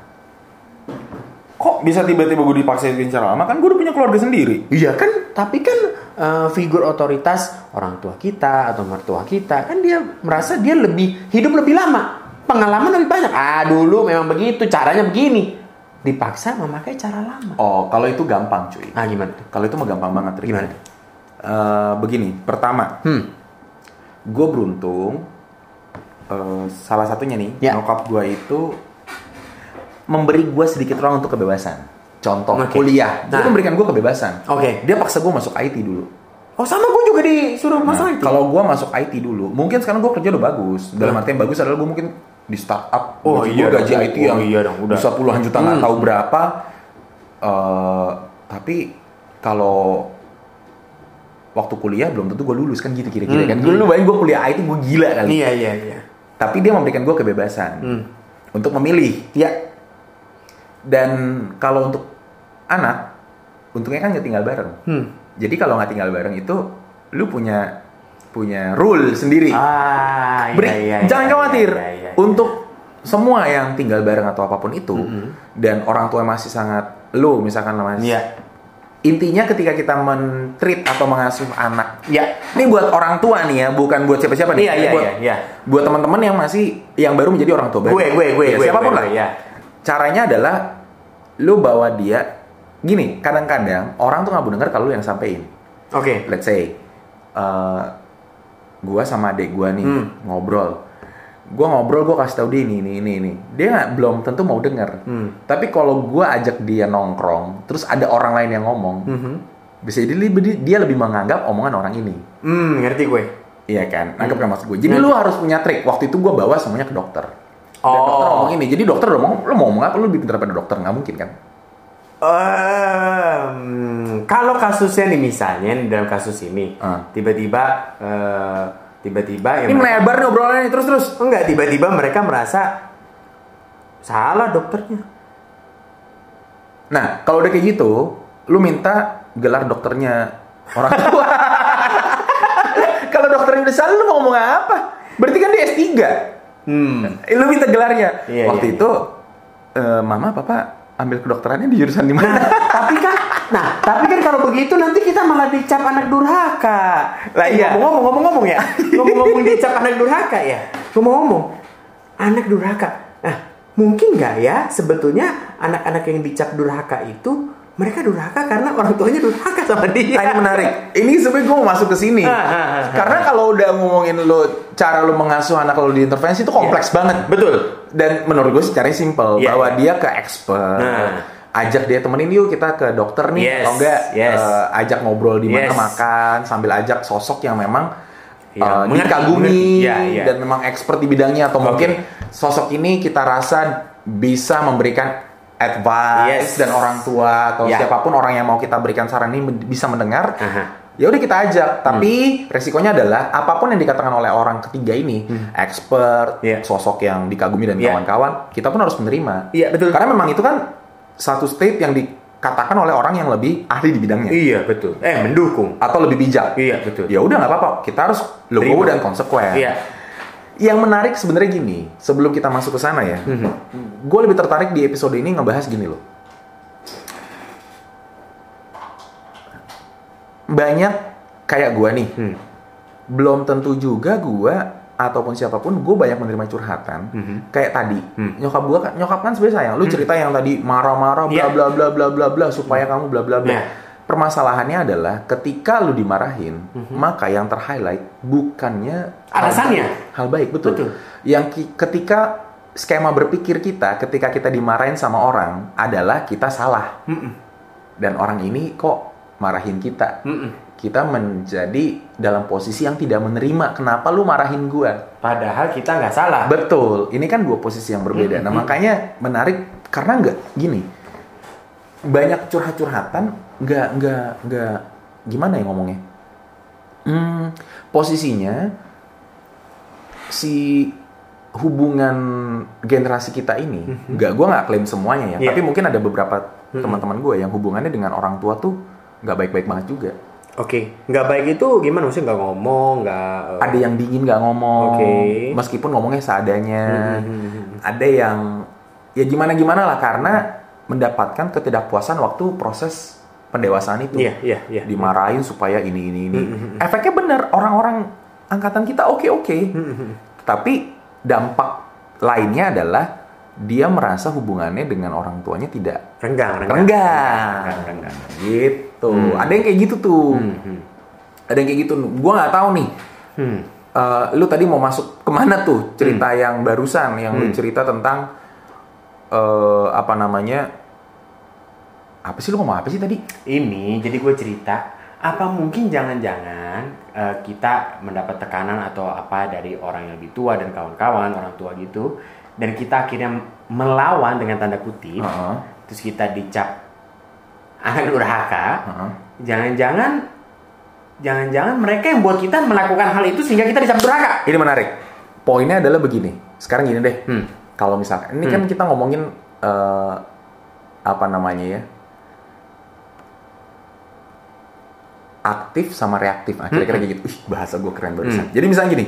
Speaker 2: Kok bisa tiba-tiba gue dipaksain cara lama? Kan gue udah punya keluarga sendiri.
Speaker 1: Iya kan, tapi kan eh, figur otoritas orang tua kita atau mertua kita kan dia merasa dia lebih hidup lebih lama, pengalaman lebih banyak. Ah dulu memang begitu, caranya begini. Dipaksa memakai cara lama.
Speaker 2: Oh, kalau itu gampang cuy.
Speaker 1: Ah gimana tuh?
Speaker 2: Kalau itu mah gampang banget. Rick.
Speaker 1: Gimana?
Speaker 2: Eh, begini, pertama,
Speaker 1: Hmm.
Speaker 2: gue beruntung. eh, salah satunya nih,
Speaker 1: Ya.
Speaker 2: nyokap gue itu memberi gue sedikit ruang untuk kebebasan. Contoh
Speaker 1: Oke.
Speaker 2: kuliah, dia
Speaker 1: Nah.
Speaker 2: memberikan gue kebebasan.
Speaker 1: Oke.
Speaker 2: Dia paksa gue masuk IT dulu.
Speaker 1: Oh sama gue juga disuruh
Speaker 2: Nah,
Speaker 1: masalah itu.
Speaker 2: Kalau gue masuk IT dulu, mungkin sekarang gue kerja udah bagus. Dalam arti yang bagus adalah gue mungkin di startup,
Speaker 1: Oh,
Speaker 2: gaji
Speaker 1: iya
Speaker 2: gua gaji
Speaker 1: dong.
Speaker 2: IT
Speaker 1: Oh,
Speaker 2: yang
Speaker 1: iya dong, udah.
Speaker 2: bisa puluhan juta nggak
Speaker 1: Hmm.
Speaker 2: tahu berapa. Eh, tapi kalau waktu kuliah belum tentu gue lulus kan gitu kira-kira
Speaker 1: Hmm.
Speaker 2: kan. Dulu lu bayangin gue kuliah IT gue gila kali.
Speaker 1: Iya iya iya.
Speaker 2: Tapi dia memberikan gue kebebasan
Speaker 1: Hmm.
Speaker 2: untuk memilih.
Speaker 1: Iya.
Speaker 2: Dan kalau untuk anak, untungnya kan nggak tinggal bareng.
Speaker 1: Hmm.
Speaker 2: Jadi kalau nggak tinggal bareng itu, lu punya punya rule sendiri.
Speaker 1: Ah
Speaker 2: Beri- jangan khawatir.
Speaker 1: Un-
Speaker 2: Untuk semua yang tinggal bareng atau apapun itu dan orang tua masih sangat lu misalkan namanya.
Speaker 1: Mm-hmm. Iya.
Speaker 2: Intinya ketika kita mentreat atau mengasuh anak.
Speaker 1: Iya.
Speaker 2: Ini buat orang tua nih ya, bukan buat siapa-siapa nih.
Speaker 1: Iya, iya,
Speaker 2: buat,
Speaker 1: iya, iya.
Speaker 2: Buat teman-teman yang masih yang baru menjadi orang tua baru.
Speaker 1: Gue gue gue
Speaker 2: Ya,
Speaker 1: gue.
Speaker 2: siapapun
Speaker 1: gue,
Speaker 2: lah.
Speaker 1: gue, Iya.
Speaker 2: Caranya adalah lu bawa dia gini, kadang-kadang orang tuh nggak mau denger kalau lu yang sampein
Speaker 1: Oke.
Speaker 2: let's say eh gua sama adik gua nih
Speaker 1: Hmm.
Speaker 2: ngobrol gua ngobrol gua kasih tau dia ini ini ini ini dia nggak belum tentu mau denger
Speaker 1: Hmm.
Speaker 2: tapi kalau gua ajak dia nongkrong terus ada orang lain yang ngomong
Speaker 1: Mhm.
Speaker 2: Bisa jadi lebih- dia lebih menganggap omongan orang ini.
Speaker 1: Hmm, ngerti gue.
Speaker 2: Iya kan? Nangkep kan maksud gue. Jadi lu harus punya trik. Waktu itu gue bawa semuanya ke dokter. Dan
Speaker 1: Oh.
Speaker 2: dokter ngomong ini. Jadi dokter udah ngomong, lu mau ngomong apa? Lu lebih pintar pada dokter. Nggak mungkin kan?
Speaker 1: Em, kalau kasusnya nih misalnya nih dalam kasus ini
Speaker 2: Ah.
Speaker 1: tiba-tiba eh, tiba-tiba ya
Speaker 2: Ini
Speaker 1: mereka-
Speaker 2: melebar nih obrolannya terus terus.
Speaker 1: enggak tiba-tiba mereka merasa salah dokternya.
Speaker 2: Nah, kalau udah kayak gitu, lu minta gelar dokternya orang tua. kalau dokternya udah salah, lu mau ngomong apa? Berarti kan dia S3.
Speaker 1: Hmm.
Speaker 2: Eh, Lu minta gelarnya.
Speaker 1: Iya,
Speaker 2: Waktu
Speaker 1: iya,
Speaker 2: itu, eh, mama, papa ambil kedokterannya di jurusan di
Speaker 1: Nah,
Speaker 2: mana?
Speaker 1: tapi kan nah, tapi kan kalau begitu nanti kita malah dicap anak durhaka.
Speaker 2: Lah
Speaker 1: Eh,
Speaker 2: iya.
Speaker 1: Ngomong-ngomong ngomong-ngomong ya. Ngomong-ngomong dicap anak durhaka ya. Ngomong-ngomong anak durhaka. Nah, mungkin nggak ya sebetulnya anak-anak yang dicap durhaka itu mereka durhaka karena orang tuanya durhaka sama dia.
Speaker 2: Nah, ini menarik. Ini sebenarnya gue mau masuk ke sini.
Speaker 1: Iya. Ah, ah, ah, ah.
Speaker 2: Karena kalau udah ngomongin lo cara lo mengasuh anak lo diintervensi itu kompleks banget.
Speaker 1: Iya. Betul.
Speaker 2: Dan menurut gue sih caranya simple
Speaker 1: Iya,
Speaker 2: bahwa
Speaker 1: iya.
Speaker 2: dia ke expert.
Speaker 1: Nah.
Speaker 2: Ajak dia temenin yuk kita ke dokter nih
Speaker 1: Yes,
Speaker 2: atau enggak
Speaker 1: yes.
Speaker 2: eh, ajak ngobrol di mana
Speaker 1: Yes.
Speaker 2: makan sambil ajak sosok yang memang
Speaker 1: Yang
Speaker 2: eh,
Speaker 1: mengerti, mengerti.
Speaker 2: dikagumi
Speaker 1: Iya, iya.
Speaker 2: dan memang expert di bidangnya atau
Speaker 1: Oke.
Speaker 2: mungkin sosok ini kita rasa bisa memberikan advice
Speaker 1: Yes.
Speaker 2: dan orang tua atau
Speaker 1: Ya.
Speaker 2: siapapun orang yang mau kita berikan saran ini men- bisa mendengar
Speaker 1: Aha.
Speaker 2: ya udah kita ajak
Speaker 1: Hmm.
Speaker 2: tapi resikonya adalah apapun yang dikatakan oleh orang ketiga ini expert
Speaker 1: Hmm. Iya.
Speaker 2: sosok yang dikagumi dan
Speaker 1: Iya.
Speaker 2: kawan-kawan kita pun harus menerima
Speaker 1: Iya, betul.
Speaker 2: karena memang itu kan satu state yang dikatakan oleh orang yang lebih ahli di bidangnya
Speaker 1: Iya, betul. Eh, mendukung.
Speaker 2: atau lebih bijak
Speaker 1: Iya, betul.
Speaker 2: ya udah nggak apa-apa kita harus legowo
Speaker 1: Terima.
Speaker 2: dan konsekuen
Speaker 1: Iya.
Speaker 2: yang menarik sebenarnya gini sebelum kita masuk ke sana ya
Speaker 1: Hmm. Mhm.
Speaker 2: gue lebih tertarik di episode ini ngebahas gini loh banyak kayak gue nih
Speaker 1: Hmm.
Speaker 2: belum tentu juga gue ataupun siapapun gue banyak menerima curhatan
Speaker 1: Mhm.
Speaker 2: kayak tadi
Speaker 1: Hmm.
Speaker 2: nyokap gue kan nyokap kan sebenarnya sayang lu cerita yang tadi marah-marah bla
Speaker 1: Iya.
Speaker 2: bla bla bla bla bla supaya kamu bla bla bla
Speaker 1: Iya.
Speaker 2: permasalahannya adalah ketika lu dimarahin maka yang terhighlight bukannya hal
Speaker 1: Mhm. Alasannya.
Speaker 2: baik. hal baik betul,
Speaker 1: Betul.
Speaker 2: yang ki- ketika skema berpikir kita ketika kita dimarahin sama orang adalah kita salah
Speaker 1: Mm-mm.
Speaker 2: dan orang ini kok marahin kita
Speaker 1: Mm-mm.
Speaker 2: kita menjadi dalam posisi yang tidak menerima kenapa lu marahin gua
Speaker 1: Padahal kita nggak salah.
Speaker 2: betul ini kan dua posisi yang berbeda nah makanya menarik karena nggak gini banyak curhat-curhatan nggak nggak nggak gimana ya ngomongnya hmm, posisinya si hubungan generasi kita ini nggak gua nggak klaim semuanya ya
Speaker 1: Iya.
Speaker 2: tapi mungkin ada beberapa teman-teman gua yang hubungannya dengan orang tua tuh nggak baik-baik banget juga
Speaker 1: Oke, nggak baik itu gimana maksudnya nggak ngomong, nggak eh,
Speaker 2: ada yang dingin nggak ngomong
Speaker 1: Oke.
Speaker 2: meskipun ngomongnya seadanya
Speaker 1: Mhm.
Speaker 2: ada yang ya gimana gimana lah karena mendapatkan ketidakpuasan waktu proses pendewasaan itu
Speaker 1: Iya, iya, iya. Hmm,
Speaker 2: dimarahin supaya ini ini ini efeknya bener orang-orang angkatan kita oke oke
Speaker 1: Hmm,
Speaker 2: tapi dampak lainnya adalah dia merasa hubungannya dengan orang tuanya tidak
Speaker 1: renggang, renggang.
Speaker 2: renggang
Speaker 1: Renggang, renggang.
Speaker 2: gitu
Speaker 1: Hmm.
Speaker 2: ada yang kayak gitu tuh ada yang kayak gitu gue nggak tahu nih
Speaker 1: Hmm.
Speaker 2: Eh, lu tadi mau masuk kemana tuh cerita yang barusan yang lu cerita tentang eh apa namanya apa sih lu ngomong apa sih tadi
Speaker 1: Ini jadi gue cerita apa mungkin jangan-jangan eh, kita mendapat tekanan atau apa dari orang yang lebih tua dan kawan-kawan orang tua gitu dan kita akhirnya melawan dengan tanda kutip
Speaker 2: Heeh.
Speaker 1: terus kita dicap anak durhaka
Speaker 2: Heeh.
Speaker 1: jangan-jangan jangan-jangan mereka yang buat kita melakukan hal itu sehingga kita dicap durhaka
Speaker 2: ini menarik poinnya adalah begini sekarang gini deh
Speaker 1: Hmm.
Speaker 2: kalau misalkan ini kan kita ngomongin eh apa namanya ya aktif sama reaktif Ah, kira-kira
Speaker 1: Hmm.
Speaker 2: kayak gitu Ih, bahasa gue keren barusan jadi misalnya gini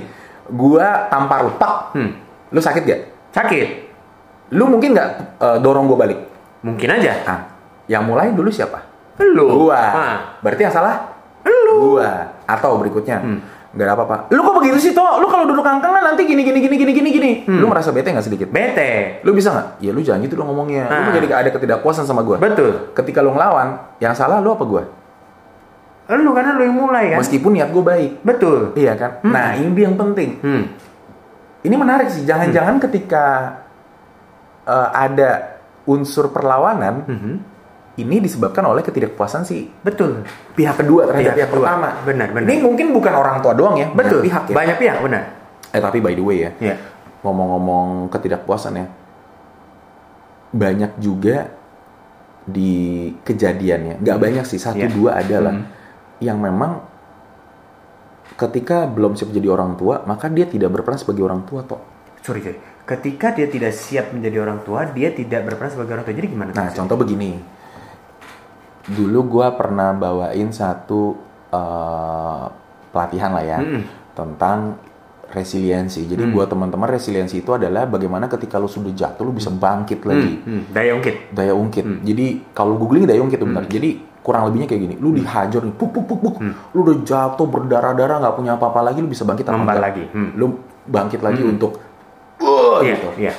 Speaker 2: gua tampar lu pak
Speaker 1: Hmm.
Speaker 2: lu sakit gak
Speaker 1: sakit
Speaker 2: lu mungkin nggak eh, dorong gue balik
Speaker 1: mungkin aja
Speaker 2: Nah, yang mulai dulu siapa?
Speaker 1: lu
Speaker 2: Gua.
Speaker 1: Ah.
Speaker 2: Berarti yang salah lu. Gua. Atau berikutnya,
Speaker 1: Hmm.
Speaker 2: nggak ada apa-apa. Lu kok begitu sih, Toh? Lu kalau duduk kangkengan nanti gini gini gini gini gini gini.
Speaker 1: Hmm.
Speaker 2: Lu merasa bete nggak sedikit?
Speaker 1: bete
Speaker 2: Lu bisa nggak? Ya lu jangan gitu dong ngomongnya. Lu
Speaker 1: Ah.
Speaker 2: menjadi ada ketidakpuasan sama gua.
Speaker 1: betul
Speaker 2: Ketika lu ngelawan, yang salah lu apa gua?
Speaker 1: lu karena lu yang mulai kan
Speaker 2: Meskipun niat gua baik.
Speaker 1: betul
Speaker 2: Iya kan? Nah, ini yang penting.
Speaker 1: hmm.
Speaker 2: Ini menarik sih. Jangan-jangan ketika eh, ada unsur perlawanan,
Speaker 1: Mhm.
Speaker 2: ini disebabkan oleh ketidakpuasan si
Speaker 1: Betul.
Speaker 2: pihak kedua
Speaker 1: Pihak
Speaker 2: terhadap pihak,
Speaker 1: kedua.
Speaker 2: pertama.
Speaker 1: Benar, benar.
Speaker 2: Ini mungkin bukan orang tua doang ya, banyak
Speaker 1: Betul.
Speaker 2: pihak ya.
Speaker 1: Banyak pihak, benar.
Speaker 2: Eh tapi by the way ya,
Speaker 1: Iya.
Speaker 2: ngomong-ngomong ketidakpuasan ya, banyak juga di kejadiannya. Nggak banyak sih, satu
Speaker 1: Iya.
Speaker 2: dua adalah
Speaker 1: Hmm.
Speaker 2: yang memang ketika belum siap jadi orang tua, maka dia tidak berperan sebagai orang tua toh.
Speaker 1: Sorry, sorry. Ketika dia tidak siap menjadi orang tua, dia tidak berperan sebagai orang tua. Jadi gimana?
Speaker 2: Nah, contoh begini. Dulu gua pernah bawain satu eh, pelatihan lah ya
Speaker 1: Mm-mm.
Speaker 2: tentang resiliensi.
Speaker 1: Hmm.
Speaker 2: Jadi buat teman-teman resiliensi itu adalah bagaimana ketika lu sudah jatuh lu bisa bangkit lagi.
Speaker 1: Hmm, daya ungkit.
Speaker 2: Daya ungkit. Jadi kalau googling daya ungkit tuh benar. Jadi kurang lebihnya kayak gini,
Speaker 1: Hmm.
Speaker 2: lu dihajar nih, puk puk puk puk. Lu udah jatuh berdarah-darah nggak punya apa-apa lagi lu bisa bangkit apa
Speaker 1: Membal
Speaker 2: enggak?
Speaker 1: lagi. Hmm.
Speaker 2: Lu bangkit lagi untuk "Wah,"
Speaker 1: Iya,
Speaker 2: gitu.
Speaker 1: iya.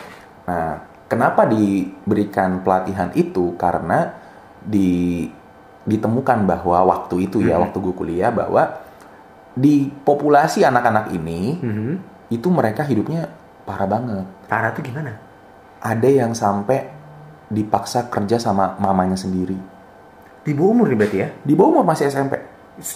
Speaker 2: Nah, kenapa diberikan pelatihan itu? Karena di ditemukan bahwa waktu itu
Speaker 1: Mm-hmm.
Speaker 2: ya, waktu gue kuliah bahwa di populasi anak-anak ini
Speaker 1: Mhm.
Speaker 2: itu mereka hidupnya parah banget.
Speaker 1: Tara tuh gimana?
Speaker 2: Ada yang sampai dipaksa kerja sama mamanya sendiri.
Speaker 1: Di bawah umur nih berarti ya?
Speaker 2: Di bawah umur masih SMP.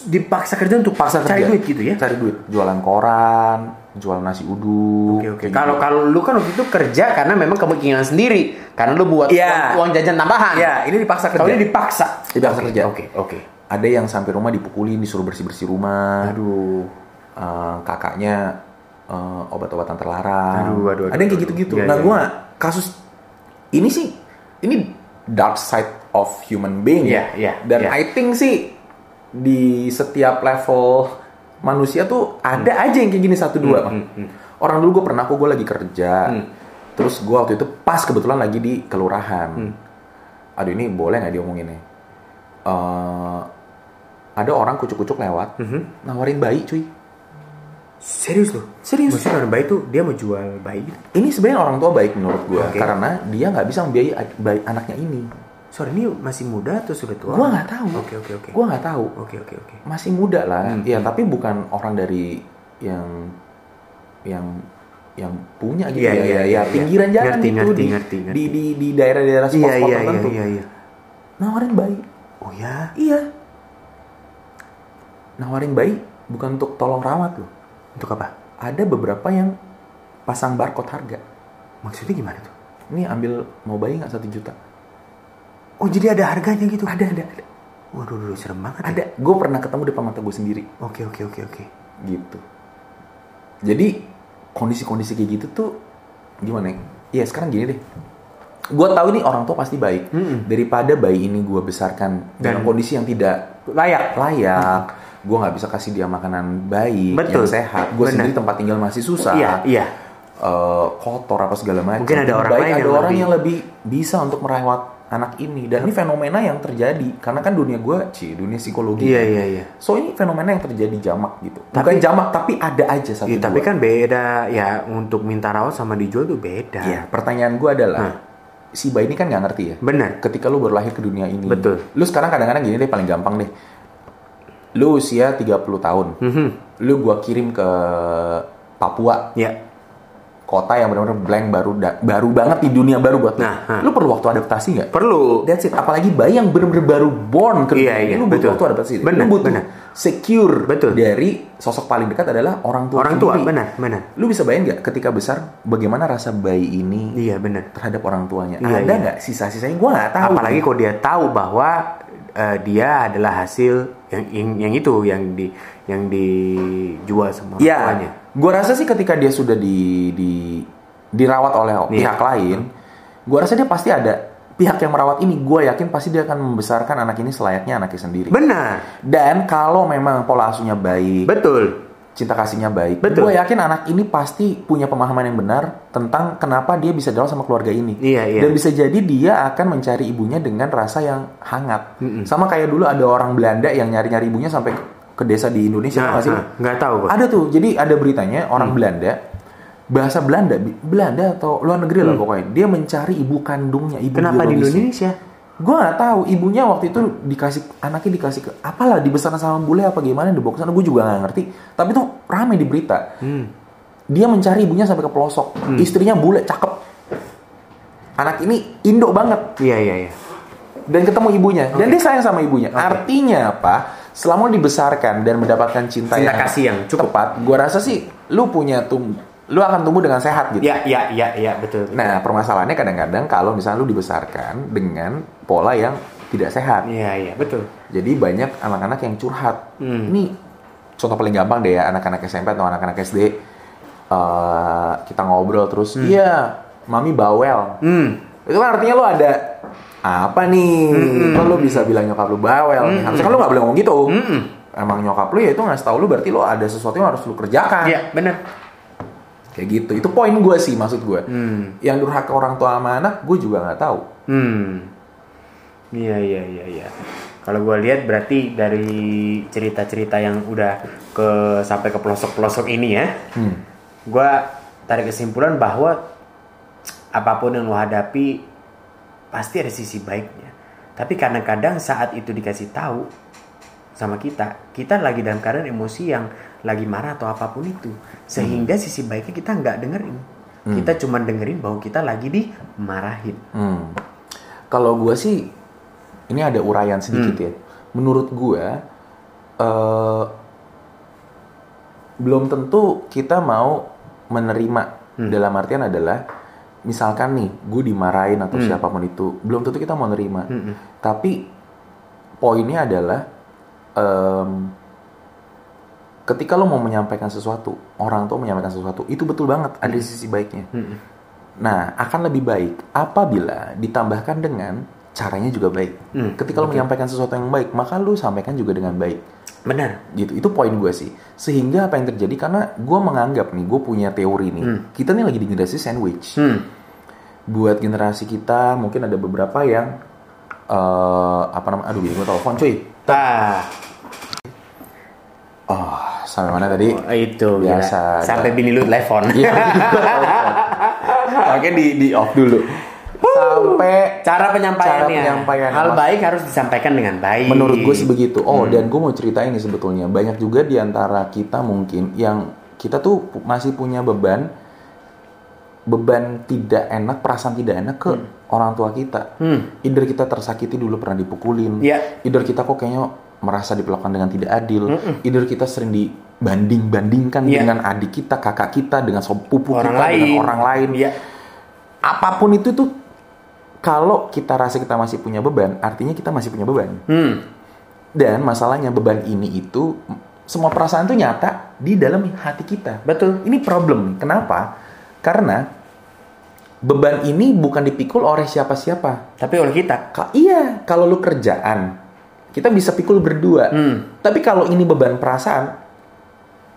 Speaker 1: Dipaksa kerja untuk
Speaker 2: Paksa
Speaker 1: cari
Speaker 2: kerja.
Speaker 1: duit gitu ya?
Speaker 2: Cari duit, jualan koran, jual nasi uduk.
Speaker 1: Oke oke.
Speaker 2: kayak
Speaker 1: Kalau
Speaker 2: gitu.
Speaker 1: kalau lu kan waktu itu kerja karena memang kemungkinan sendiri, karena lu buat uang,
Speaker 2: Iya.
Speaker 1: uang jajan tambahan.
Speaker 2: Ya, ini dipaksa
Speaker 1: Kalau
Speaker 2: kerja.
Speaker 1: ini dipaksa.
Speaker 2: Dipaksa kerja.
Speaker 1: Oke oke.
Speaker 2: ada yang sampai rumah dipukulin, disuruh bersih-bersih rumah.
Speaker 1: Aduh.
Speaker 2: eh, kakaknya eh, obat-obatan
Speaker 1: Aduh,
Speaker 2: terlarang.
Speaker 1: aduh, aduh,
Speaker 2: ada yang kayak
Speaker 1: aduh.
Speaker 2: gitu-gitu.
Speaker 1: Iya,
Speaker 2: nah,
Speaker 1: iya,
Speaker 2: gua kasus ini sih ini dark side of human being
Speaker 1: Iya,
Speaker 2: ya.
Speaker 1: iya,
Speaker 2: Dan
Speaker 1: iya.
Speaker 2: I think sih di setiap level manusia tuh ada
Speaker 1: Hmm.
Speaker 2: aja yang kayak gini satu dua. Bang. Orang dulu gue pernah aku gue lagi kerja.
Speaker 1: Hmm.
Speaker 2: Terus gue waktu itu pas kebetulan lagi di kelurahan.
Speaker 1: Hmm.
Speaker 2: Aduh ini boleh nggak diomongin nih? Eh, ada orang kucuk-kucuk lewat,
Speaker 1: Hmm,
Speaker 2: nawarin bayi cuy.
Speaker 1: Serius lu?
Speaker 2: Serius.
Speaker 1: Maksudnya orang bayi tuh dia mau jual bayi? gitu?
Speaker 2: Ini sebenarnya orang tua baik menurut gue
Speaker 1: Oke.
Speaker 2: karena dia nggak bisa membiayai ad- bayi anaknya ini.
Speaker 1: Sorry ini masih muda atau sudah tua?
Speaker 2: Gua nggak tahu.
Speaker 1: Oke oke oke.
Speaker 2: Gue nggak tahu.
Speaker 1: Oke oke oke.
Speaker 2: Masih muda lah.
Speaker 1: Hmm.
Speaker 2: Ya tapi bukan orang dari yang yang yang punya gitu
Speaker 1: Iya,
Speaker 2: ya,
Speaker 1: iya,
Speaker 2: ya,
Speaker 1: iya,
Speaker 2: ya,
Speaker 1: iya.
Speaker 2: Pinggiran jalan
Speaker 1: Ngerti,
Speaker 2: itu
Speaker 1: ngerti,
Speaker 2: di,
Speaker 1: ngerti, ngerti.
Speaker 2: di di di daerah-daerah
Speaker 1: Iya
Speaker 2: spot-spot
Speaker 1: iya iya
Speaker 2: tertentu.
Speaker 1: iya iya.
Speaker 2: Nawarin bayi.
Speaker 1: Oh ya?
Speaker 2: Iya. Nawarin bayi bukan untuk tolong rawat loh.
Speaker 1: Untuk apa?
Speaker 2: Ada beberapa yang pasang barcode harga.
Speaker 1: Maksudnya gimana tuh?
Speaker 2: Ini ambil mau bayi nggak satu juta?
Speaker 1: Oh jadi ada harganya gitu? Ada ada. ada. Waduh, waduh, serem banget. ya.
Speaker 2: Ada. Gue pernah ketemu depan mata gue sendiri.
Speaker 1: Oke oke oke oke.
Speaker 2: gitu jadi kondisi-kondisi kayak gitu tuh gimana ya? ya sekarang gini deh gue tahu nih orang tua pasti baik
Speaker 1: Mm-mm.
Speaker 2: daripada bayi ini gue besarkan dalam
Speaker 1: Dan-
Speaker 2: kondisi yang tidak
Speaker 1: Layak.
Speaker 2: layak gue nggak bisa kasih dia makanan baik
Speaker 1: Betul.
Speaker 2: yang sehat gue
Speaker 1: Benar.
Speaker 2: sendiri tempat tinggal masih susah
Speaker 1: Iya iya.
Speaker 2: eh, kotor apa segala macam
Speaker 1: Mungkin ada orang
Speaker 2: Baik,
Speaker 1: lain
Speaker 2: ada
Speaker 1: yang
Speaker 2: orang
Speaker 1: lebih-
Speaker 2: yang lebih bisa untuk merawat anak ini dan ini fenomena yang terjadi karena kan dunia gue ci dunia psikologi
Speaker 1: Iya iya iya.
Speaker 2: So ini fenomena yang terjadi jamak gitu.
Speaker 1: Tapi-
Speaker 2: Bukan jamak tapi ada aja satu
Speaker 1: Iya,
Speaker 2: dua.
Speaker 1: tapi kan beda ya untuk minta rawat sama dijual tuh beda.
Speaker 2: Iya, pertanyaan gue adalah
Speaker 1: kan- Hah.
Speaker 2: si bayi ini kan nggak ngerti ya.
Speaker 1: Benar.
Speaker 2: Ketika lu berlahir ke dunia ini.
Speaker 1: Betul.
Speaker 2: Lu sekarang kadang-kadang gini deh paling gampang deh. Lu usia 30 tahun.
Speaker 1: Hmm.
Speaker 2: Lu gua kirim ke Papua,
Speaker 1: Mhm. Ya.
Speaker 2: kota yang benar-benar blank baru da- baru banget di dunia baru buat lu.
Speaker 1: Nah, hah.
Speaker 2: Lu perlu waktu adaptasi nggak?
Speaker 1: Perlu.
Speaker 2: That's it. Apalagi bayi yang benar-benar baru born
Speaker 1: Iya,
Speaker 2: ke dunia ini,
Speaker 1: iya,
Speaker 2: lu butuh
Speaker 1: betul.
Speaker 2: waktu adaptasi.
Speaker 1: Benar,
Speaker 2: lu butuh
Speaker 1: benar.
Speaker 2: secure
Speaker 1: Betul.
Speaker 2: dari sosok paling dekat adalah orang tua.
Speaker 1: Orang tua,
Speaker 2: sendiri.
Speaker 1: benar, benar.
Speaker 2: Lu bisa bayangin nggak ketika besar bagaimana rasa bayi ini
Speaker 1: Iya benar.
Speaker 2: terhadap orang tuanya?
Speaker 1: Iya,
Speaker 2: Ada
Speaker 1: iya.
Speaker 2: nggak sisa-sisanya? Gua nggak tahu.
Speaker 1: Apalagi kalau dia tahu bahwa eh, dia adalah hasil yang, yang yang itu yang di yang dijual sama orang
Speaker 2: ya,
Speaker 1: tuanya.
Speaker 2: gua rasa sih ketika dia sudah di, di dirawat oleh
Speaker 1: Iya.
Speaker 2: pihak lain, gua rasa dia pasti ada pihak yang merawat ini. Gua yakin pasti dia akan membesarkan anak ini selayaknya anaknya sendiri.
Speaker 1: Benar.
Speaker 2: Dan kalau memang pola asuhnya baik,
Speaker 1: Betul.
Speaker 2: cinta kasihnya baik.
Speaker 1: Betul.
Speaker 2: Gue yakin anak ini pasti punya pemahaman yang benar tentang kenapa dia bisa dalam sama keluarga ini.
Speaker 1: Iya, iya.
Speaker 2: Dan bisa jadi dia akan mencari ibunya dengan rasa yang hangat. Sama kayak dulu ada orang Belanda yang nyari-nyari ibunya sampai ke- ke desa di Indonesia
Speaker 1: Nah,
Speaker 2: nggak sih?
Speaker 1: nah, nggak Mm. tahu gua.
Speaker 2: Ada tuh. Jadi ada beritanya orang Belanda bahasa Belanda, Bi- Belanda atau luar negeri lah pokoknya. Dia mencari ibu kandungnya, ibu
Speaker 1: Mm. Kenapa di
Speaker 2: biologisnya.
Speaker 1: Indonesia?
Speaker 2: Gue nggak tahu ibunya waktu itu dikasih anaknya dikasih ke apalah dibesarin sama bule apa gimana dibawa ke sana gue juga nggak ngerti tapi tuh rame di berita
Speaker 1: Hmm.
Speaker 2: dia mencari ibunya sampai ke pelosok istrinya bule cakep anak ini indo banget
Speaker 1: Iya iya iya.
Speaker 2: dan ketemu ibunya dan dia sayang sama ibunya artinya apa selama lu dibesarkan dan mendapatkan cinta,
Speaker 1: Cinta kasih yang cukup.
Speaker 2: tepat gua rasa sih lu punya tum lu akan tumbuh dengan sehat gitu
Speaker 1: Ya, ya, ya, ya, betul. betul.
Speaker 2: nah permasalahannya kadang-kadang kalau misalnya lu dibesarkan dengan pola yang tidak sehat
Speaker 1: Iya, iya, betul.
Speaker 2: jadi banyak anak-anak yang curhat.
Speaker 1: Hmm.
Speaker 2: Ini contoh paling gampang deh ya anak-anak SMP atau anak-anak SD. eh, kita ngobrol terus, iya, mami bawel.
Speaker 1: Hmm.
Speaker 2: Itu kan artinya lo ada apa nih? Kok lo bisa bilang nyokap lu bawel? nih? Harusnya kan lo nggak boleh ngomong gitu.
Speaker 1: Hmm.
Speaker 2: Emang nyokap lu ya itu ngasih tau lu berarti lo ada sesuatu yang harus lu kerjakan.
Speaker 1: Iya, benar.
Speaker 2: Kayak gitu. Itu poin gue sih maksud gue.
Speaker 1: Hmm.
Speaker 2: Yang durhaka orang tua sama anak, gue juga nggak tahu.
Speaker 1: Hmm. Iya, iya, iya, iya. Kalau gue lihat berarti dari cerita-cerita yang udah ke sampai ke pelosok-pelosok ini ya,
Speaker 2: Hmm.
Speaker 1: gue tarik kesimpulan bahwa apapun yang lo hadapi pasti ada sisi baiknya. Tapi kadang-kadang saat itu dikasih tahu sama kita, kita lagi dalam keadaan emosi yang lagi marah atau apapun itu, sehingga sisi baiknya kita nggak dengerin. Kita cuma dengerin bahwa kita lagi dimarahin.
Speaker 2: Hmm. Kalau gue sih, ini ada uraian sedikit ya. Menurut gue, eh, belum tentu kita mau menerima. Dalam artian adalah, misalkan nih, gue dimarahin atau siapapun itu, belum tentu kita mau nerima. Tapi poinnya adalah, em, ketika lo mau menyampaikan sesuatu, orang tua menyampaikan sesuatu, itu betul banget ada sisi baiknya. Nah, akan lebih baik apabila ditambahkan dengan caranya juga baik.
Speaker 1: Hmm,
Speaker 2: Ketika lo menyampaikan sesuatu yang baik, maka lo sampaikan juga dengan baik.
Speaker 1: Benar.
Speaker 2: Gitu. Itu poin gue sih. Sehingga apa yang terjadi karena gue menganggap nih, gue punya teori nih. Kita nih lagi di generasi sandwich.
Speaker 1: Hmm.
Speaker 2: Buat generasi kita mungkin ada beberapa yang eh apa namanya? Aduh, gue telepon cuy.
Speaker 1: Tah,
Speaker 2: Oh, sampai mana tadi?
Speaker 1: itu gila.
Speaker 2: Biasa.
Speaker 1: Sampai bini lu telepon.
Speaker 2: Iya. Oke, di di off dulu. Sampai
Speaker 1: Cara penyampaiannya.
Speaker 2: Cara penyampaiannya.
Speaker 1: Hal baik harus disampaikan dengan baik.
Speaker 2: Menurut gue sih begitu. Oh,
Speaker 1: Hmm.
Speaker 2: dan gue mau cerita ini sebetulnya. Banyak juga di antara kita mungkin yang kita tuh pu- masih punya beban beban tidak enak, perasaan tidak enak
Speaker 1: Hmm.
Speaker 2: ke orang tua kita. Either kita tersakiti dulu pernah dipukulin.
Speaker 1: Iya.
Speaker 2: Either kita kok kayaknya merasa diperlakukan dengan tidak adil. Either kita sering dibanding-bandingkan
Speaker 1: Iya.
Speaker 2: dengan adik kita, kakak kita, dengan sepupu
Speaker 1: orang
Speaker 2: kita,
Speaker 1: lain.
Speaker 2: dengan orang lain
Speaker 1: Iya.
Speaker 2: apapun itu tuh kalau kita rasa kita masih punya beban, artinya kita masih punya beban.
Speaker 1: Hmm.
Speaker 2: Dan masalahnya beban ini itu semua perasaan tuh nyata di dalam hati kita.
Speaker 1: Betul.
Speaker 2: Ini problem. Kenapa? Karena beban ini bukan dipikul oleh siapa-siapa.
Speaker 1: Tapi oleh kita.
Speaker 2: Ka- iya, kalau lu kerjaan, kita bisa pikul berdua.
Speaker 1: Hmm.
Speaker 2: Tapi kalau ini beban perasaan,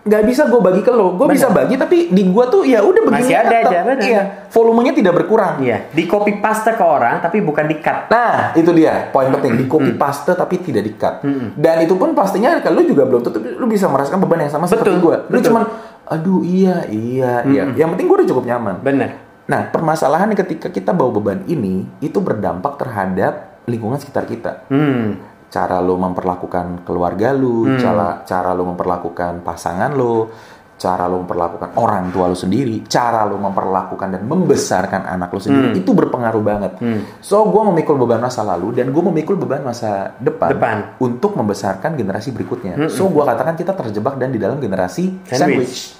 Speaker 2: nggak bisa gue bagi ke lo. Gue bisa bagi, tapi di gue tuh ya udah begini
Speaker 1: Masih ada
Speaker 2: tetap.
Speaker 1: aja, bener.
Speaker 2: Iya, volumenya tidak berkurang.
Speaker 1: Iya. Di copy paste ke orang tapi bukan di cut.
Speaker 2: Nah, itu dia poin penting di copy paste tapi tidak di cut. Dan itu pun pastinya kalau lu juga belum tentu lu bisa merasakan beban yang sama
Speaker 1: Betul,
Speaker 2: seperti gue. Lu
Speaker 1: betul.
Speaker 2: cuman aduh iya iya iya. Yang penting gue udah cukup nyaman.
Speaker 1: Benar.
Speaker 2: Nah, permasalahan ketika kita bawa beban ini itu berdampak terhadap lingkungan sekitar kita.
Speaker 1: Hmm.
Speaker 2: Cara lu memperlakukan keluarga lu, cara cara lu memperlakukan pasangan lu, cara lu memperlakukan orang tua lu sendiri, cara lu memperlakukan dan membesarkan anak lu sendiri itu berpengaruh banget.
Speaker 1: Hmm.
Speaker 2: So, gue memikul beban masa lalu dan gue memikul beban masa depan,
Speaker 1: Depan. Hmm.
Speaker 2: untuk membesarkan generasi berikutnya. So, gue katakan kita terjebak dan di dalam generasi sandwich.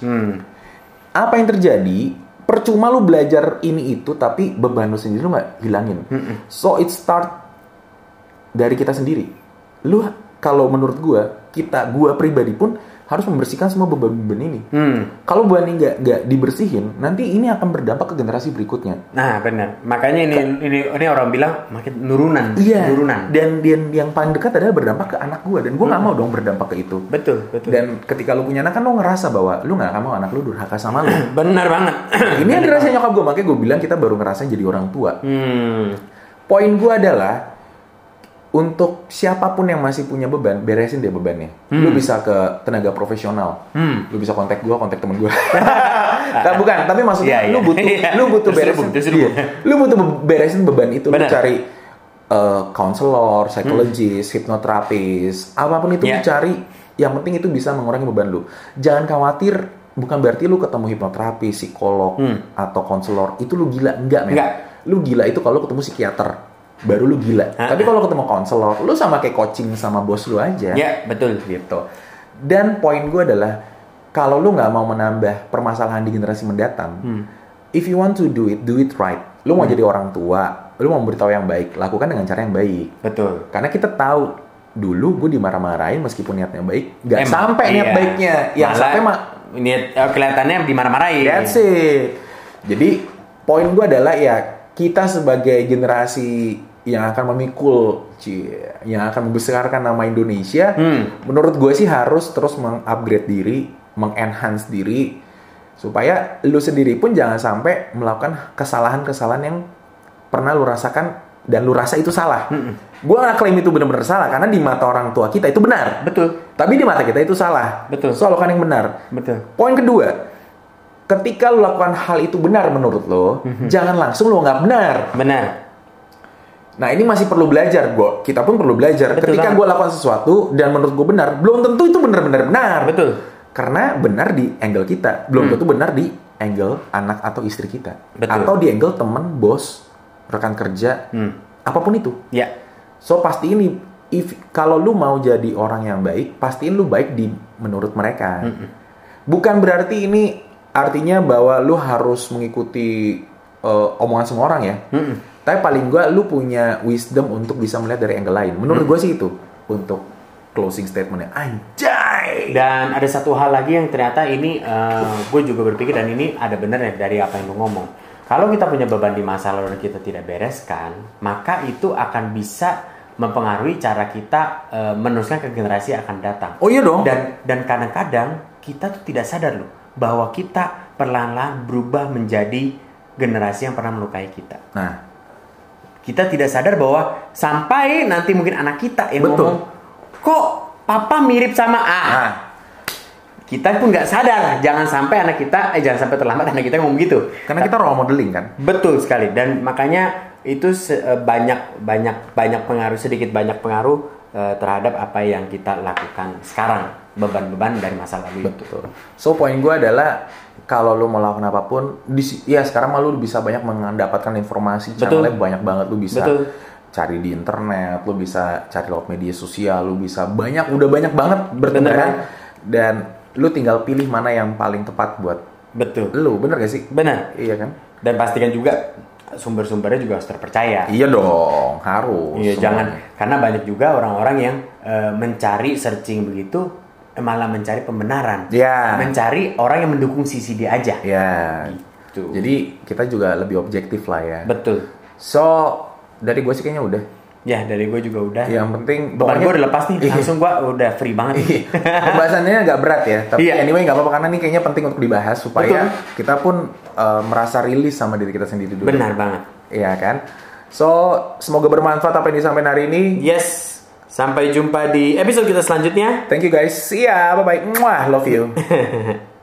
Speaker 1: Sandwich. Hmm.
Speaker 2: Apa yang terjadi? Percuma lu belajar ini itu, tapi beban lu sendiri lu nggak hilangin. So, it start dari kita sendiri. Lu kalau menurut gue, kita gue pribadi pun harus membersihkan semua beban-beban ini.
Speaker 1: Hmm.
Speaker 2: Kalau beban ini nggak nggak dibersihin, nanti ini akan berdampak ke generasi berikutnya.
Speaker 1: Nah, benar. Makanya ini ini ini orang bilang makin nurunan,
Speaker 2: Iya.
Speaker 1: nurunan.
Speaker 2: Dan, dan yang paling dekat adalah berdampak ke anak gue dan gue nggak mau dong berdampak ke itu.
Speaker 1: Betul, betul.
Speaker 2: Dan ketika lu punya anak kan lu ngerasa bahwa lu nggak akan mau anak lu durhaka sama lu.
Speaker 1: Benar banget.
Speaker 2: Ini yang dirasain nyokap gue makanya gue bilang kita baru ngerasain jadi orang tua.
Speaker 1: hmm.
Speaker 2: Poin gue adalah untuk siapapun yang masih punya beban beresin deh bebannya. Lu bisa ke tenaga profesional.
Speaker 1: Hmm.
Speaker 2: Lu bisa kontak gue, kontak temen gue. nah, bukan, tapi
Speaker 1: Iya,
Speaker 2: maksudnya lu
Speaker 1: iya.
Speaker 2: butuh
Speaker 1: Iya.
Speaker 2: lu butuh
Speaker 1: Terus
Speaker 2: beresin.
Speaker 1: lubung, terus
Speaker 2: iya. Lu butuh be- beresin beban itu. Lu
Speaker 1: Benar.
Speaker 2: cari eh, counselor, psikologis, hipnoterapis, apapun itu lu
Speaker 1: Hmm. Iya.
Speaker 2: cari. Yang penting itu bisa mengurangi beban lu. Jangan khawatir, bukan berarti lu ketemu hipnoterapi, psikolog atau konselor itu lu gila enggak,
Speaker 1: Hmm.
Speaker 2: men.
Speaker 1: Enggak.
Speaker 2: Lu gila itu kalau ketemu psikiater. baru lu gila.
Speaker 1: Ah,
Speaker 2: Tapi kalau ketemu konselor, lu sama kayak coaching sama bos lu aja.
Speaker 1: Ya, betul.
Speaker 2: Gitu. Dan poin gue adalah kalau lu nggak mau menambah permasalahan di generasi mendatang,
Speaker 1: Hmm.
Speaker 2: if you want to do it, do it right. Lu mau jadi orang tua, lu mau memberitahu yang baik, lakukan dengan cara yang baik.
Speaker 1: Betul.
Speaker 2: Karena kita tahu dulu gue dimarah-marahin meskipun niatnya baik, nggak
Speaker 1: Emang,
Speaker 2: sampai niat
Speaker 1: iya.
Speaker 2: baiknya. Yang
Speaker 1: Malah
Speaker 2: sampai mah
Speaker 1: niat eh, kelihatannya dimarah-marahin.
Speaker 2: That's it. Jadi poin gue adalah ya kita sebagai generasi yang akan memikul, cie, yang akan membesarkan nama Indonesia,
Speaker 1: Hmm.
Speaker 2: menurut gue sih harus terus mengupgrade diri, mengenhance diri, supaya lu sendiri pun jangan sampai melakukan kesalahan-kesalahan yang pernah lu rasakan dan lu rasa itu salah.
Speaker 1: Hmm.
Speaker 2: Gue nggak klaim itu benar-benar salah karena di mata orang tua kita itu benar,
Speaker 1: Betul.
Speaker 2: tapi di mata kita itu salah.
Speaker 1: Betul.
Speaker 2: Soal kan yang benar.
Speaker 1: Betul.
Speaker 2: Poin kedua, ketika lu lakukan hal itu benar menurut lo,
Speaker 1: Mhm.
Speaker 2: jangan langsung lo nggak benar.
Speaker 1: Benar.
Speaker 2: Nah ini masih perlu belajar, gua kita pun perlu belajar.
Speaker 1: Betul
Speaker 2: ketika
Speaker 1: banget.
Speaker 2: gue lakukan sesuatu dan menurut gue benar, belum tentu itu benar-benar benar.
Speaker 1: Betul. Hmm.
Speaker 2: Karena benar di angle kita, belum tentu benar di angle anak atau istri kita,
Speaker 1: Betul. Hmm.
Speaker 2: atau di angle teman, bos, rekan kerja, apapun itu.
Speaker 1: Ya.
Speaker 2: So pastiin ini if kalau lu mau jadi orang yang baik, pastiin lu baik di menurut mereka. Bukan berarti ini artinya bahwa lu harus mengikuti eh, omongan semua orang ya. Tapi paling gua lu punya wisdom untuk bisa melihat dari angle lain. Menurut gua sih itu untuk closing statementnya. Anjay.
Speaker 1: Dan ada satu hal lagi yang ternyata ini eh, gue juga berpikir dan ini ada bener ya dari apa yang lu ngomong. Kalau kita punya beban di masa lalu dan kita tidak bereskan, maka itu akan bisa mempengaruhi cara kita eh, meneruskan ke generasi yang akan datang.
Speaker 2: Oh iya dong.
Speaker 1: Dan dan kadang-kadang kita tuh tidak sadar loh bahwa kita perlahan-lahan berubah menjadi generasi yang pernah melukai kita.
Speaker 2: nah,
Speaker 1: kita tidak sadar bahwa sampai nanti mungkin anak kita yang
Speaker 2: Betul.
Speaker 1: ngomong kok papa mirip sama A
Speaker 2: nah,
Speaker 1: kita pun nggak sadar jangan sampai anak kita eh jangan sampai terlambat anak kita ngomong gitu
Speaker 2: karena kita role modeling kan.
Speaker 1: betul sekali dan makanya itu se- eh, banyak banyak banyak pengaruh sedikit banyak pengaruh eh, terhadap apa yang kita lakukan sekarang beban-beban dari masa lalu itu
Speaker 2: Betul. So poin gue adalah kalau lu mau lakukan apapun, di, si- ya sekarang mah lu bisa banyak mendapatkan informasi,
Speaker 1: Betul.
Speaker 2: channelnya banyak banget lu bisa
Speaker 1: Betul.
Speaker 2: cari di internet, lu bisa cari lewat media sosial, lu bisa banyak, udah banyak banget bertebaran
Speaker 1: kan?
Speaker 2: dan lu tinggal pilih mana yang paling tepat buat
Speaker 1: betul
Speaker 2: lu, bener gak sih?
Speaker 1: benar
Speaker 2: Iya kan?
Speaker 1: dan pastikan juga sumber-sumbernya juga harus terpercaya
Speaker 2: Iya dong, harus.
Speaker 1: Iya
Speaker 2: semuanya.
Speaker 1: jangan karena banyak juga orang-orang yang eh, mencari searching begitu eh, malah mencari pembenaran.
Speaker 2: Iya.
Speaker 1: Mencari orang yang mendukung sisi dia aja.
Speaker 2: Ya.
Speaker 1: Gitu.
Speaker 2: Jadi kita juga lebih objektif lah ya.
Speaker 1: Betul.
Speaker 2: So dari gue sih kayaknya udah.
Speaker 1: Ya dari gue juga udah.
Speaker 2: Yang penting
Speaker 1: Beban gue udah lepas nih.
Speaker 2: Iya.
Speaker 1: Langsung gue udah free banget. nih.
Speaker 2: Pembahasannya agak berat ya, tapi
Speaker 1: Iya.
Speaker 2: anyway nggak apa-apa karena ini kayaknya penting untuk dibahas supaya kita pun eh, merasa rilis sama diri kita sendiri dulu.
Speaker 1: Benar banget.
Speaker 2: Iya kan? So, semoga bermanfaat apa yang disampaikan hari ini.
Speaker 1: Yes. Sampai jumpa di episode kita selanjutnya.
Speaker 2: Thank you guys. See ya. Bye bye. Love you.